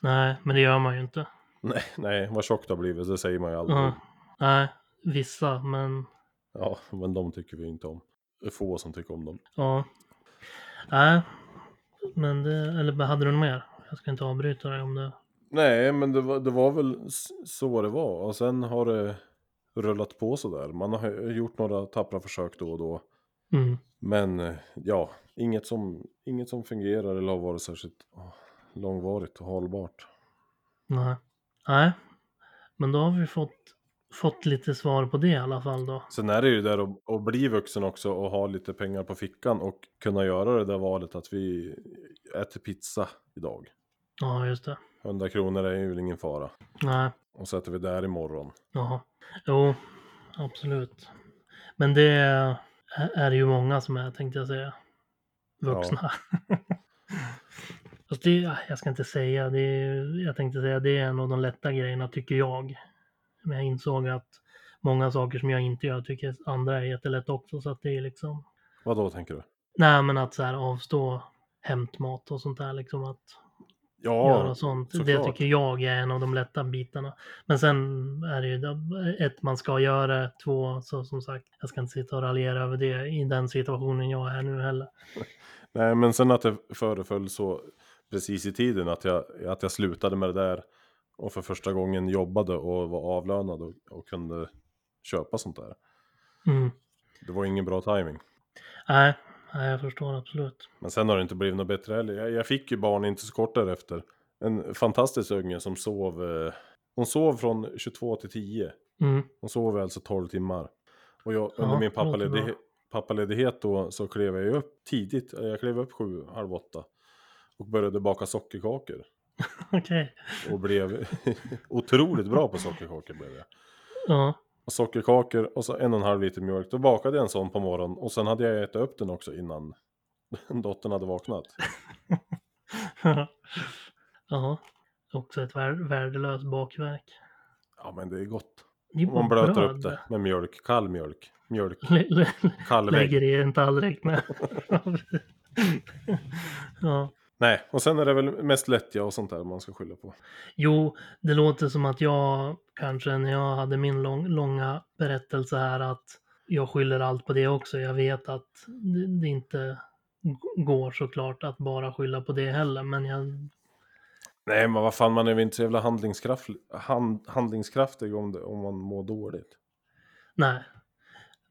Speaker 2: Nej, men det gör man ju inte.
Speaker 1: Nej, nej vad tjockt det har blivit, det säger man ju aldrig.
Speaker 2: Ja. Nej, vissa, men
Speaker 1: Ja, men de tycker vi inte om. Det är få som tycker om dem.
Speaker 2: ja. Nej, men det, eller hade du något mer? Jag ska inte avbryta dig om det.
Speaker 1: Nej, men det var, det var väl s- så det var. Och sen har det rullat på sådär. Man har ju gjort några tappra försök då och då.
Speaker 2: Mm.
Speaker 1: Men eh, ja, inget som, inget som fungerar eller har varit särskilt åh, långvarigt och hållbart.
Speaker 2: Nej. Nej. Men då har vi fått, fått lite svar på det i alla fall då.
Speaker 1: Sen är det ju där att, att bli vuxen också och ha lite pengar på fickan och kunna göra det där valet att vi äter pizza idag.
Speaker 2: Ja, just det.
Speaker 1: 100 kronor är ju ingen fara.
Speaker 2: Nej.
Speaker 1: Och så äter vi där imorgon.
Speaker 2: Jaha. Jo, absolut. Men det är- är det ju många som är, tänkte jag säga. Vuxna. Fast det, ah, jag ska inte säga, det är, jag tänkte säga det är en av de lätta grejerna tycker jag. Men jag insåg att många saker som jag inte gör tycker andra är jättelätt också. Så att det är liksom,
Speaker 1: Vad då tänker du?
Speaker 2: nej men att så här avstå hämtmat och sånt där liksom att göra
Speaker 1: Ja,
Speaker 2: sånt.
Speaker 1: såklart.
Speaker 2: Det tycker jag är en av de lätta bitarna. Men sen är det ju det- ett, man ska göra, två, så som sagt, jag ska inte sitta och raljera över det i den situationen jag är nu heller.
Speaker 1: nej men sen att det föreföll så precis i tiden att jag, att jag slutade med det där och för första gången jobbade och var avlönad och, och kunde köpa sånt där.
Speaker 2: Mm.
Speaker 1: Det var ingen bra timing.
Speaker 2: Nej, nej, jag förstår absolut.
Speaker 1: Men sen har det inte blivit något bättre heller. Jag, jag fick ju barn inte så kort därefter. En fantastisk unge som sov. Eh, hon sov från 22 till 10.
Speaker 2: Mm.
Speaker 1: Hon sov alltså 12 timmar. Och jag,
Speaker 2: Ja,
Speaker 1: under min
Speaker 2: det låter
Speaker 1: pappaledi-
Speaker 2: bra.
Speaker 1: pappaledighet då så klev jag ju upp tidigt. Eller Jag klev upp sju, halv åtta. Och började baka sockerkakor.
Speaker 2: Okej.
Speaker 1: Och blev otroligt bra på sockerkakor blev jag.
Speaker 2: Ja,
Speaker 1: Och sockerkakor och så en och en halv liter mjölk. Då bakade jag en sån på morgonen. Och sen hade jag ätit upp den också innan dottern hade vaknat.
Speaker 2: ja. Också ett vär- värdelöst bakverk.
Speaker 1: Ja men det är gott.
Speaker 2: Det är
Speaker 1: Om man
Speaker 2: bara
Speaker 1: blöter upp
Speaker 2: bröd.
Speaker 1: det med mjölk, kall mjölk. Mjölk,
Speaker 2: Lä- lä-
Speaker 1: kall
Speaker 2: Lägger
Speaker 1: vägg.
Speaker 2: i en tallrik med. ja.
Speaker 1: Nej, och sen är det väl mest lättja och sånt där man ska skylla på.
Speaker 2: Jo, det låter som att jag kanske när jag hade min lång, långa berättelse här att jag skyller allt på det också. Jag vet att det, det inte g- går såklart att bara skylla på det heller, men jag...
Speaker 1: Nej, men vad fan, man är väl inte så jävla handlingskraft, hand, handlingskraftig om, det, om man mår dåligt.
Speaker 2: Nej,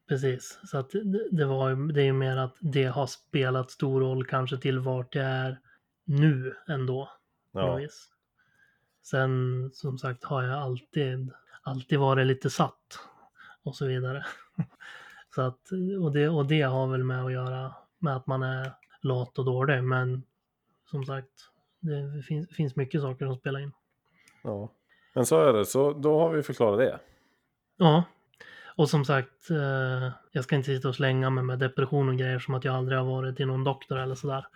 Speaker 2: precis. Så att det, det, var, ju- det är ju mer att det har spelat stor roll kanske till vart jag är nu ändå. på något
Speaker 1: Ja,
Speaker 2: vis. Sen som sagt har jag alltid, alltid varit lite satt och så vidare. Så att, och, det, och det har väl med att göra med att man är lat och dålig. Men som sagt, det finns, finns mycket saker som spelar in.
Speaker 1: ja. Men så är det, så då har vi förklarat det.
Speaker 2: Ja, och som sagt, eh, jag ska inte sitta och slänga mig med depression och grejer som att jag aldrig har varit i någon doktor eller sådär.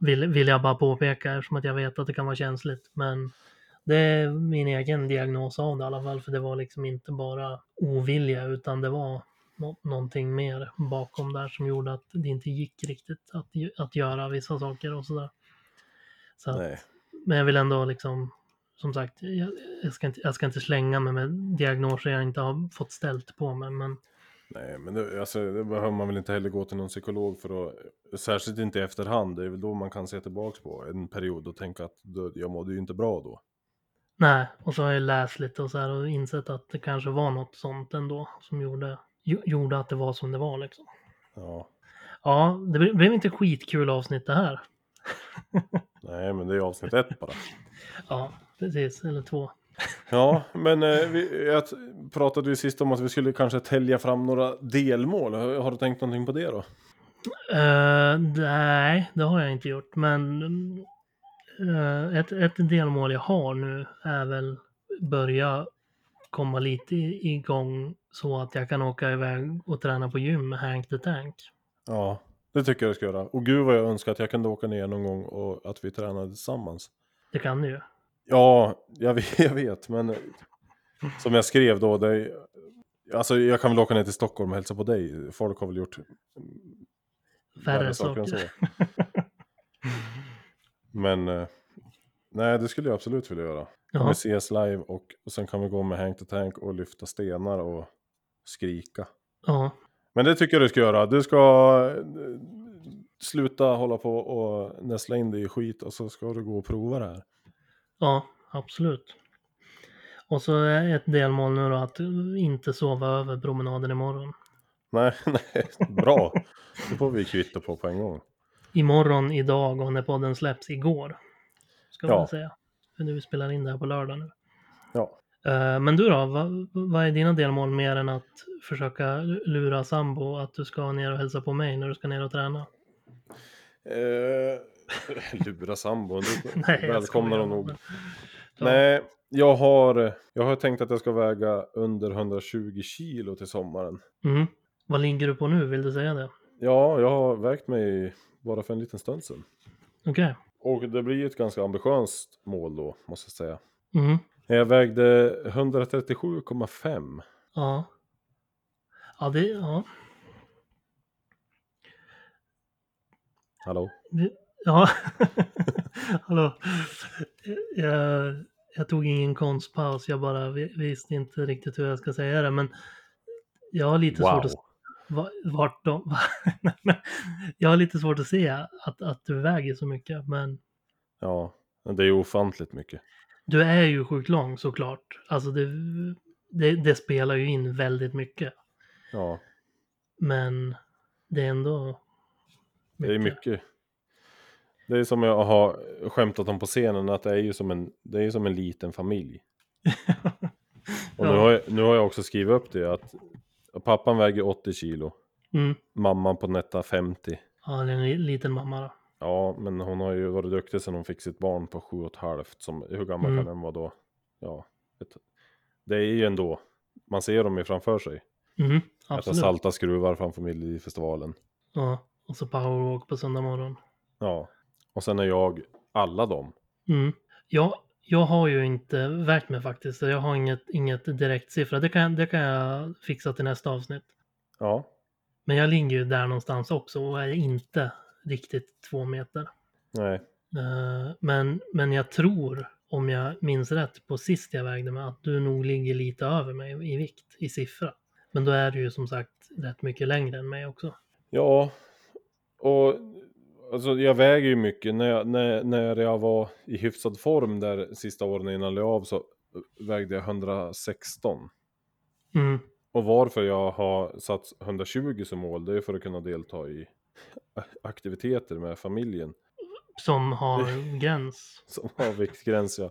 Speaker 2: Vill, vill jag bara påpeka eftersom att jag vet att det kan vara känsligt. Men det är min egen diagnos av det i alla fall, för det var liksom inte bara ovilja utan det var nå- någonting mer bakom där som gjorde att det inte gick riktigt att, ju- att göra vissa saker och sådär. Så att,
Speaker 1: Nej.
Speaker 2: men jag vill ändå liksom, som sagt, jag, jag, ska, inte, jag ska inte slänga mig med diagnoser jag inte har fått ställt på mig. Men
Speaker 1: Nej, men det, alltså, det behöver man väl inte heller gå till någon psykolog för att, särskilt inte i efterhand, det är väl då man kan se tillbaks på en period och tänka att du, jag mådde ju inte bra då.
Speaker 2: nej, och så har jag läst lite och så här och insett att det kanske var något sånt ändå som gjorde, gjo- gjorde att det var som det var liksom.
Speaker 1: Ja,
Speaker 2: Ja, det blev- blev inte skitkul avsnitt det här.
Speaker 1: nej, men det är avsnitt ett bara.
Speaker 2: Ja, precis, eller två.
Speaker 1: Ja, men eh, vi, jag t- pratade ju sist om att vi skulle kanske tälja fram några delmål. Har, har du tänkt någonting på det då?
Speaker 2: Eh, nej, det har jag inte gjort. Men mm, eh, ett, ett delmål jag har nu är väl börja komma lite i- igång så att jag kan åka iväg och träna på gym med Hank the Tank.
Speaker 1: Ja, det tycker jag du ska göra. Och gud vad jag önskar att jag kunde åka ner någon gång och att vi tränade tillsammans.
Speaker 2: Det kan du ju.
Speaker 1: Ja, jag vet, jag vet men som jag skrev då, det, alltså jag kan väl åka ner till Stockholm och hälsa på dig. Folk har väl gjort
Speaker 2: Värre
Speaker 1: än
Speaker 2: saker.
Speaker 1: så. Men eh, nej, det skulle jag absolut vilja göra. Vi
Speaker 2: Ja,
Speaker 1: ses live och, och sen kan vi gå med Hank the Tank och lyfta stenar och skrika.
Speaker 2: ja,
Speaker 1: Men det tycker jag du ska göra. Du ska eh, sluta hålla på och näsla in dig i skit och så ska du gå och prova det här.
Speaker 2: ja, absolut. Och så är ett delmål nu då att inte sova över promenaden imorgon.
Speaker 1: Nej, nej, bra. Det får vi kvitto på på en gång.
Speaker 2: Imorgon, idag och när podden släpps igår. Ska
Speaker 1: Ja.
Speaker 2: man säga. För nu spelar in det här på lördag nu.
Speaker 1: Ja.
Speaker 2: Eh, Men du då, vad, vad är dina delmål mer än att försöka lura sambo att du ska ner och hälsa på mig när du ska ner och träna?
Speaker 1: Eh, lura sambon, du
Speaker 2: Nej, jag
Speaker 1: välkomnar
Speaker 2: skojar.
Speaker 1: dem nog.
Speaker 2: Ja.
Speaker 1: Nej, jag har, jag har tänkt att jag ska väga under 120 kilo till sommaren.
Speaker 2: Mm. Vad ligger du på nu, vill du säga det?
Speaker 1: Ja, jag har vägt mig bara för en liten stund sedan.
Speaker 2: Okej.
Speaker 1: Och det blir ett ganska ambitiöst mål då, måste jag säga.
Speaker 2: Mm.
Speaker 1: Jag vägde 137,5.
Speaker 2: Ja. Ja, det, ja.
Speaker 1: Hallå?
Speaker 2: Ja. Hallå. Jag, jag tog ingen konstpaus, jag bara vi- visste inte riktigt hur jag ska säga det, men jag har lite svårt att Va- vart de... jag har lite svårt att se att, att du väger så mycket, men
Speaker 1: Ja, men det är ju ofantligt mycket.
Speaker 2: du är ju sjukt lång såklart. Alltså det, det, det spelar ju in väldigt mycket,
Speaker 1: Ja,
Speaker 2: men det är ändå...
Speaker 1: det är mycket. Det är som jag har skämtat om på scenen, att det är ju som en, det är ju som en liten familj. Och
Speaker 2: Ja.
Speaker 1: nu, har jag, nu har jag också skrivit upp det, att pappan väger 80 kilo,
Speaker 2: Mm.
Speaker 1: mamman på netta 50.
Speaker 2: Ja, det är en li- liten mamma då.
Speaker 1: Ja, men hon har ju varit duktig sedan hon fick sitt barn på sju och ett halvt. Som, hur gammal
Speaker 2: Mm.
Speaker 1: kan den vara då? Ja, ett, det är ju ändå, man ser dem ju framför sig.
Speaker 2: Mm,
Speaker 1: Äta
Speaker 2: absolut.
Speaker 1: salta skruvar framför Melodifestivalen.
Speaker 2: Ja, och så powerwalk på söndag morgon.
Speaker 1: Ja, och sen är jag alla dem.
Speaker 2: Mm. Jag, jag har ju inte vägt mig faktiskt, så jag har inget, inget direkt siffra. Det kan, det kan jag fixa till nästa avsnitt.
Speaker 1: Ja,
Speaker 2: Men jag ligger ju där någonstans också och är inte riktigt två meter.
Speaker 1: nej,
Speaker 2: Eh, Men, men jag tror, om jag minns rätt på sist jag vägde mig, att du nog ligger lite över mig i vikt, i siffra. Men då är du ju som sagt rätt mycket längre än mig också.
Speaker 1: ja, och alltså jag väger ju mycket. När jag, när, när jag var i hyfsad form där sista åren innan jag la av så vägde jag 116.
Speaker 2: Mm.
Speaker 1: Och varför jag har satt 120 som mål, det är för att kunna delta i aktiviteter med familjen.
Speaker 2: Som har gräns.
Speaker 1: Som har viktgräns ja.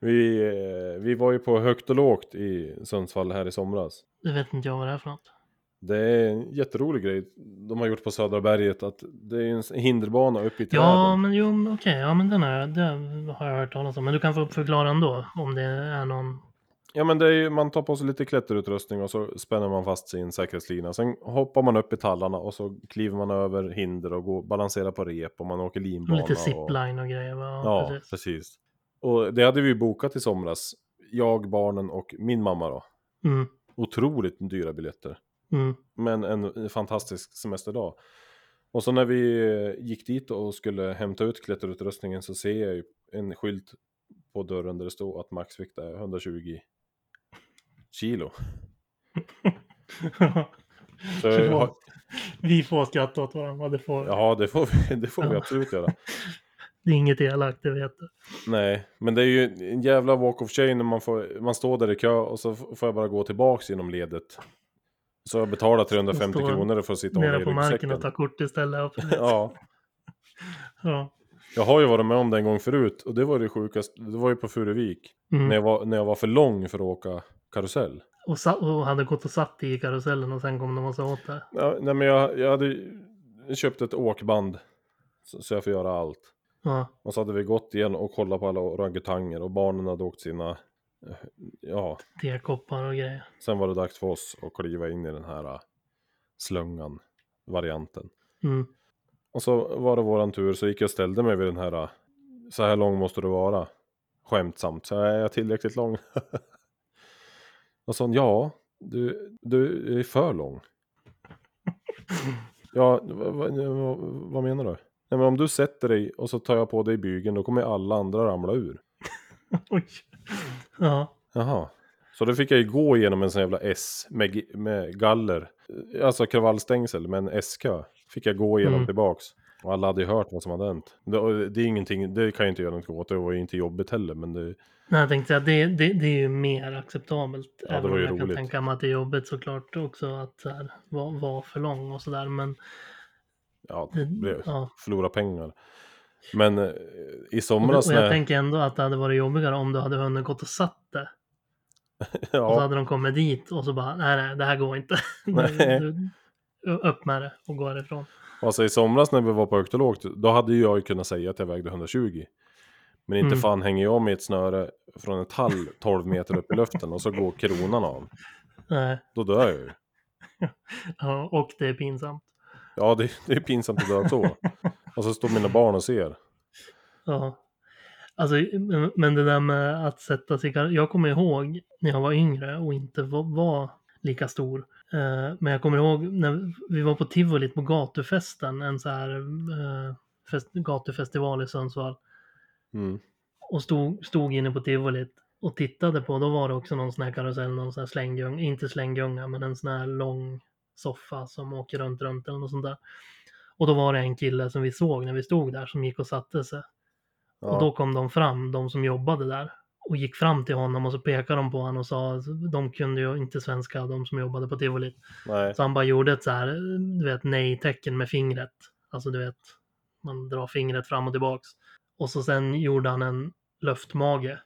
Speaker 1: Vi, eh, vi var ju på högt och lågt i Sundsvall här i somras.
Speaker 2: Det vet inte jag vad det är för något.
Speaker 1: Det är en jätterolig grej de har gjort på Södra berget. Att det är en s- hinderbana uppe i träden.
Speaker 2: Ja, men jo, men okej, ja men den här, det har jag hört talas om. Men du kan få förklara ändå, om det är någon...
Speaker 1: Ja, men det är, ju- man tar på sig lite klätterutrustning och så spänner man fast sin säkerhetslina. Sen hoppar man upp i tallarna och så kliver man över hinder och går, balanserar på rep och man åker linbana.
Speaker 2: Lite
Speaker 1: och...
Speaker 2: zipline och grejer, va?
Speaker 1: Ja, precis. Och det hade vi ju bokat i somras. Jag, barnen och min mamma då.
Speaker 2: Mm,
Speaker 1: Otroligt dyra biljetter.
Speaker 2: mm,
Speaker 1: Men en fantastisk semesterdag. Och så när vi eh, gick dit och skulle hämta ut klätterutrustningen så ser jag ju en skylt på dörren där det står att maxvikt är 120 kilo. Så jag har-
Speaker 2: Förlåt. Vi får skratta åt varandra, det får
Speaker 1: Ja, det får vi, det får vi
Speaker 2: Ja.
Speaker 1: absolut göra.
Speaker 2: Det är inget elakt, det vet du.
Speaker 1: Nej, men det är ju en jävla walk of shame när man, får, man står där i kö och så f- får jag bara gå tillbaks genom ledet. Så jag betalar 350
Speaker 2: Står
Speaker 1: kronor för att sitta och hålla
Speaker 2: Nere
Speaker 1: i
Speaker 2: på marken och ta
Speaker 1: ryggsäcken.
Speaker 2: kort istället. Ja, precis.
Speaker 1: Ja,
Speaker 2: ja.
Speaker 1: jag har ju varit med om det en gång förut och det var det sjukaste. Det var ju på Furuvik.
Speaker 2: Mm.
Speaker 1: När, jag var, när jag var för lång för att åka karusell.
Speaker 2: Och, sa- och hade gått och satt i karusellen och sen kom de och sa åt det.
Speaker 1: Ja, nej, men jag, jag hade ju köpt ett åkband så, så jag får göra allt.
Speaker 2: Ja,
Speaker 1: Och så hade vi gått igen och kollat på alla orangutanger och barnen hade åkt sina eh, Ja,
Speaker 2: Tekoppar och grejer.
Speaker 1: sen var det dags för oss att kliva in i den här eh, slungan, varianten.
Speaker 2: Mm.
Speaker 1: Och så var det våran tur, så gick jag och ställde mig vid den här, eh, så här lång måste du vara. Skämtsamt, så här, är jag tillräckligt lång? och så, ja, du, du är för lång. ja, vad, vad, vad menar du? Nej, men om du sätter dig och så tar jag på dig bygeln, då kommer alla andra ramla ur.
Speaker 2: Oj. Ja.
Speaker 1: Jaha. Så då fick jag ju gå igenom en sån jävla S med, gi- med galler. Eh, Alltså kravallstängsel med en S-kö. Fick jag gå igenom
Speaker 2: Mm.
Speaker 1: tillbaks. Och alla hade ju hört vad som hade hänt. Det, och det är ingenting, det kan jag inte göra något åt. Det var ju inte jobbigt heller. Men det,
Speaker 2: Nej, jag tänkte säga, det, det, det är ju mer acceptabelt.
Speaker 1: det
Speaker 2: även
Speaker 1: var
Speaker 2: om
Speaker 1: ju
Speaker 2: jag kan
Speaker 1: roligt.
Speaker 2: tänka mig att det är jobbigt såklart också att så här, vara vara för lång och sådär. Men
Speaker 1: ja,
Speaker 2: det,
Speaker 1: det blev
Speaker 2: Mm, ja.
Speaker 1: förlora pengar. Men eh, i
Speaker 2: Och, det,
Speaker 1: somras
Speaker 2: och jag
Speaker 1: när-
Speaker 2: tänker ändå att det hade varit jobbigare om du hade hunnit gått och satt det. Och så
Speaker 1: ja,
Speaker 2: hade de kommit dit och så bara, nej, nej det här går inte.
Speaker 1: Nej.
Speaker 2: Du- du- Upp med det och gå härifrån.
Speaker 1: alltså i somras när vi var på högt och lågt. Då hade ju jag ju kunnat säga att jag vägde 120. Men inte
Speaker 2: Mm.
Speaker 1: fan hänger jag med ett snöre från ett tall 12 meter upp i luften och så går kronan av.
Speaker 2: Nej.
Speaker 1: Då dör jag ju.
Speaker 2: Ja, och det är pinsamt.
Speaker 1: Ja, det, det är pinsamt att dö så. Och så står mina barn och ser.
Speaker 2: Ja. Alltså, men- men det där med att sätta sig... i kar- Jag kommer ihåg när jag var yngre och inte var, var lika stor. Eh, men jag kommer ihåg när vi var på tivolit på gatufesten, en så här eh, fest, gatufestival i Sundsvall.
Speaker 1: Mm.
Speaker 2: Och stod, stod inne på tivolit och tittade på, då var det också någon sån här karusell, någon sån här slänggunga, inte slänggunga, men en sån här lång soffa som åker runt, runt eller något sånt där. Och då var det en kille som vi såg när vi stod där som gick och satte sig. Och då
Speaker 1: Ja.
Speaker 2: kom de fram, de som jobbade där, och gick fram till honom och så pekade de på honom och sa att de kunde ju inte svenska, de som jobbade på tivolit.
Speaker 1: Nej.
Speaker 2: Så han bara gjorde ett så här, du vet, nej-tecken med fingret. Alltså du vet, man drar fingret fram och tillbaks. Och så sen gjorde han en luftmage.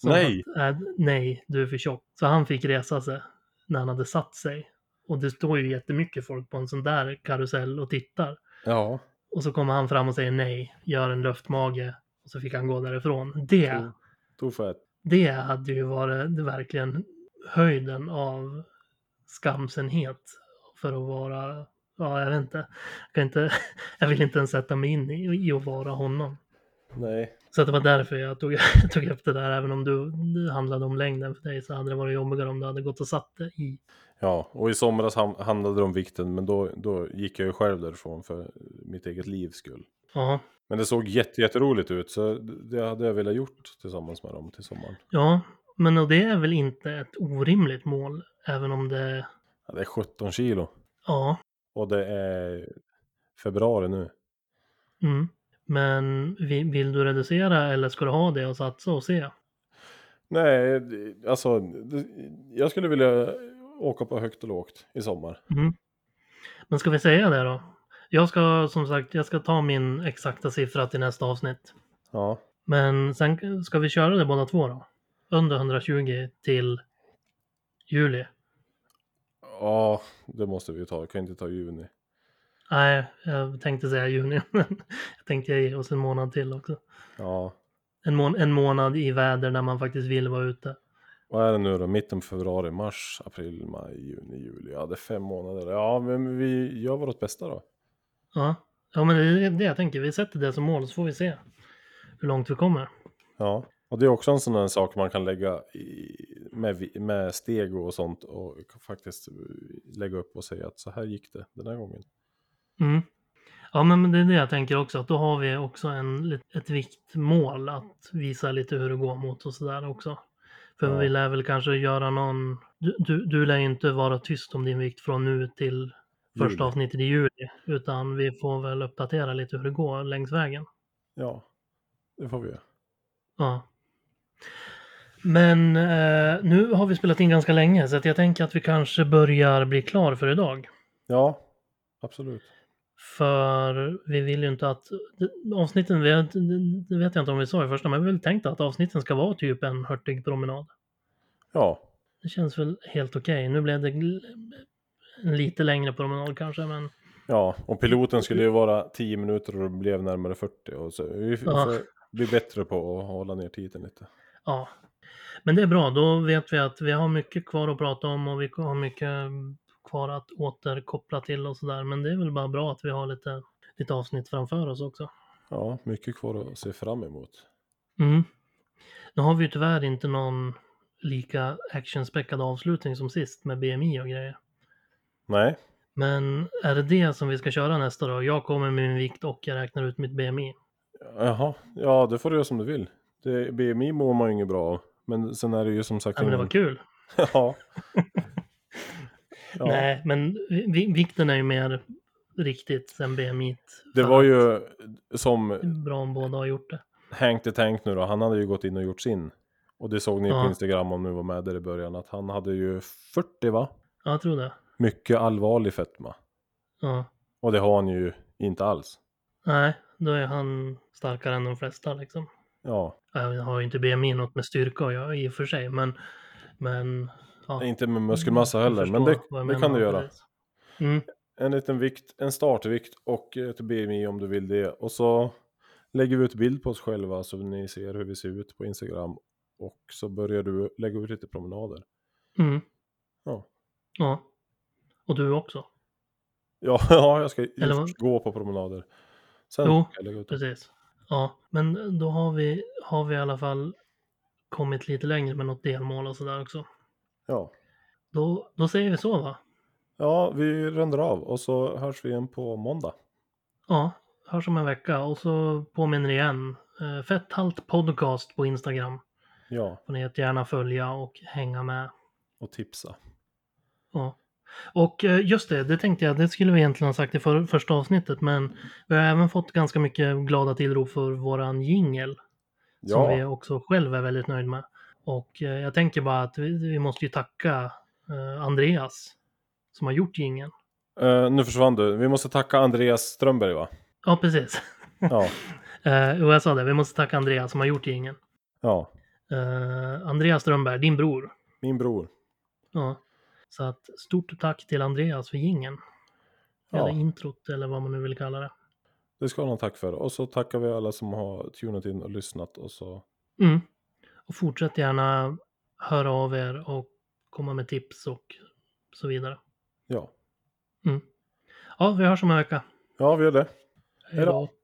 Speaker 2: Som
Speaker 1: Nej.
Speaker 2: Att, äh, nej, du är för tjock. Så han fick resa sig när han hade satt sig. Och det står ju jättemycket folk på en sån där karusell och tittar.
Speaker 1: Ja.
Speaker 2: Och så kommer han fram och säger nej, gör en luftmage. Och så fick han gå därifrån. Det,
Speaker 1: Tog- Tog fett.
Speaker 2: det hade ju varit verkligen höjden av skamsenhet. För att vara, ja jag vet inte. Jag, kan inte, jag vill inte ens sätta mig in i, i att vara honom.
Speaker 1: Nej.
Speaker 2: Så att det var därför jag tog, tog upp det där. Även om du det handlade om längden för dig så hade det varit jobbigare om du hade gått och satt det i.
Speaker 1: Ja, och i somras ham- handlade det om vikten, men då, då gick jag ju själv därifrån för mitt eget livs skull.
Speaker 2: Ja,
Speaker 1: Men det såg jätte- jätteroligt ut, så det hade jag velat gjort tillsammans med dem till sommaren.
Speaker 2: ja. men och det är väl inte ett orimligt mål. Även om det,
Speaker 1: Ja, det är 17 kilo.
Speaker 2: ja.
Speaker 1: Och det är februari nu.
Speaker 2: Mm. Men vi- vill du reducera eller ska du ha det och satsa och se?
Speaker 1: Nej, det- alltså, det, jag skulle vilja åka på högt och lågt i sommar.
Speaker 2: Mm. Men ska vi säga det då? Jag ska som sagt, jag ska ta min exakta siffra till nästa avsnitt.
Speaker 1: Ja.
Speaker 2: Men sen ska vi köra det båda två då? Under 120 till juli?
Speaker 1: Ja, det måste vi ju ta. Vi kan inte ta juni.
Speaker 2: Nej, jag tänkte säga juni, men jag tänkte ge oss en månad till också.
Speaker 1: Ja.
Speaker 2: En, mån en månad i väder när man faktiskt vill vara ute.
Speaker 1: Vad är det nu då? Mitten på februari, mars, april, maj, juni, juli. Ja, det är fem månader. Ja, men vi gör vårt bästa då.
Speaker 2: Ja, ja men det är det jag tänker. Vi sätter det som mål så får vi se hur långt vi kommer.
Speaker 1: Ja. Och det är också en sån här sak man kan lägga i, med, vi- med steg och sånt och faktiskt lägga upp och säga att så här gick det den här gången.
Speaker 2: Mm. Ja, men men det är det jag tänker också. Att då har vi också en, lit- ett viktmål att visa lite hur det går mot och sådär också. För
Speaker 1: Ja.
Speaker 2: vi lär väl kanske göra någon... Du, du, du lär ju inte vara tyst om din vikt från nu till första
Speaker 1: Juli.
Speaker 2: avsnittet i juli. Utan vi får väl uppdatera lite hur det går längs vägen.
Speaker 1: Ja, det får vi göra.
Speaker 2: Ja. Men eh, nu har vi spelat in ganska länge så att jag tänker att vi kanske börjar bli klar för idag.
Speaker 1: Ja, absolut.
Speaker 2: För vi vill ju inte att avsnitten, vi har- det vet jag inte om vi sa i första, men vi har väl tänkt att avsnitten ska vara typ en hurtig promenad.
Speaker 1: Ja,
Speaker 2: Det känns väl helt okej. Nu blev det gl- en lite längre promenad kanske, men
Speaker 1: ja. Och piloten skulle ju vara 10 minuter och det blev närmare 40. Och så vi f-
Speaker 2: Ja.
Speaker 1: får bli bättre på att hålla ner tiden lite.
Speaker 2: Ja. Men det är bra, då vet vi att vi har mycket kvar att prata om och vi har mycket kvar att återkoppla till och sådär. Men det är väl bara bra att vi har lite, lite avsnitt framför oss också.
Speaker 1: Ja, mycket kvar att se fram emot.
Speaker 2: Mm. Nu har vi ju tyvärr inte någon lika actionspäckad avslutning som sist med BMI och grejer.
Speaker 1: Nej,
Speaker 2: Men är det det som vi ska köra nästa då? Jag kommer med min vikt och jag räknar ut mitt BMI.
Speaker 1: jaha, ja det får du göra som du vill. Det, BMI mår man ju inget bra av. Men sen är det ju som sagt...
Speaker 2: Ja, men det
Speaker 1: ingen-
Speaker 2: var kul.
Speaker 1: ja. ja.
Speaker 2: Nej, men vi- vikten är ju mer riktigt än BMI.
Speaker 1: Det var ju som
Speaker 2: Bra om båda har gjort det.
Speaker 1: Hank the Tank nu då, han hade ju gått in och gjort sin. Och det såg ni
Speaker 2: Ja.
Speaker 1: på Instagram om ni var med där i början, att han hade ju 40 va?
Speaker 2: Ja, jag tror det.
Speaker 1: Mycket allvarlig fetma.
Speaker 2: Ja.
Speaker 1: Och det har han ju inte alls.
Speaker 2: Nej, då är han starkare än de flesta liksom.
Speaker 1: Ja,
Speaker 2: Jag har ju inte BMI något med styrka att göra i och för sig, men... men ja. Mm,
Speaker 1: inte med muskelmassa
Speaker 2: Jag
Speaker 1: heller, men
Speaker 2: förstår
Speaker 1: det,
Speaker 2: vad jag
Speaker 1: det kan
Speaker 2: menar,
Speaker 1: du göra.
Speaker 2: precis. Mm.
Speaker 1: En liten vikt, en startvikt och eh, ett BMI om du vill det. Och så lägger vi ut bild på oss själva så ni ser hur vi ser ut på Instagram. Och så börjar du lägga ut lite promenader.
Speaker 2: Mm.
Speaker 1: Ja.
Speaker 2: Ja. Och du också.
Speaker 1: Ja, ja jag ska ju
Speaker 2: Eller vad?
Speaker 1: först gå på promenader. Sen
Speaker 2: Jo,
Speaker 1: ska jag lägga ut
Speaker 2: Precis. Ja, men då har vi, har vi i alla fall kommit lite längre med något delmål och sådär också.
Speaker 1: Ja.
Speaker 2: Då, då säger vi så va?
Speaker 1: Ja, vi rundar av och så hörs vi igen på måndag.
Speaker 2: Ja, hörs om en vecka och så påminner igen. eh, Fetthalt podcast på Instagram.
Speaker 1: Ja,
Speaker 2: Får ni jättegärna följa och hänga med.
Speaker 1: och tipsa.
Speaker 2: Ja. Och eh, just det, det tänkte jag, det skulle vi egentligen ha sagt i för, första avsnittet, men vi har även fått ganska mycket glada tillrop för våran jingel, som vi
Speaker 1: Ja,
Speaker 2: också själv är väldigt nöjd med. Och eh, jag tänker bara att vi, vi måste ju tacka eh, Andreas, som har gjort jingeln.
Speaker 1: eh, nu försvann du. Vi måste tacka Andreas Strömberg va?
Speaker 2: Ja, precis.
Speaker 1: Ja,
Speaker 2: Eh, och jag sa det, vi måste tacka Andreas som har gjort jingeln.
Speaker 1: ja.
Speaker 2: Eh, Andreas Strömberg, din bror.
Speaker 1: Min bror.
Speaker 2: Ja. Så att stort tack till Andreas för jingeln.
Speaker 1: Ja.
Speaker 2: Eller introt, eller vad man nu vill kalla det.
Speaker 1: Det ska han ha tack för. Och så tackar vi alla som har tunat in och lyssnat och så.
Speaker 2: Mm. Och fortsätt gärna höra av er och komma med tips och så vidare.
Speaker 1: Ja,
Speaker 2: Ja, vi hörs om en vecka.
Speaker 1: ja vi gör det.
Speaker 2: Hej
Speaker 1: Hej då.
Speaker 2: då.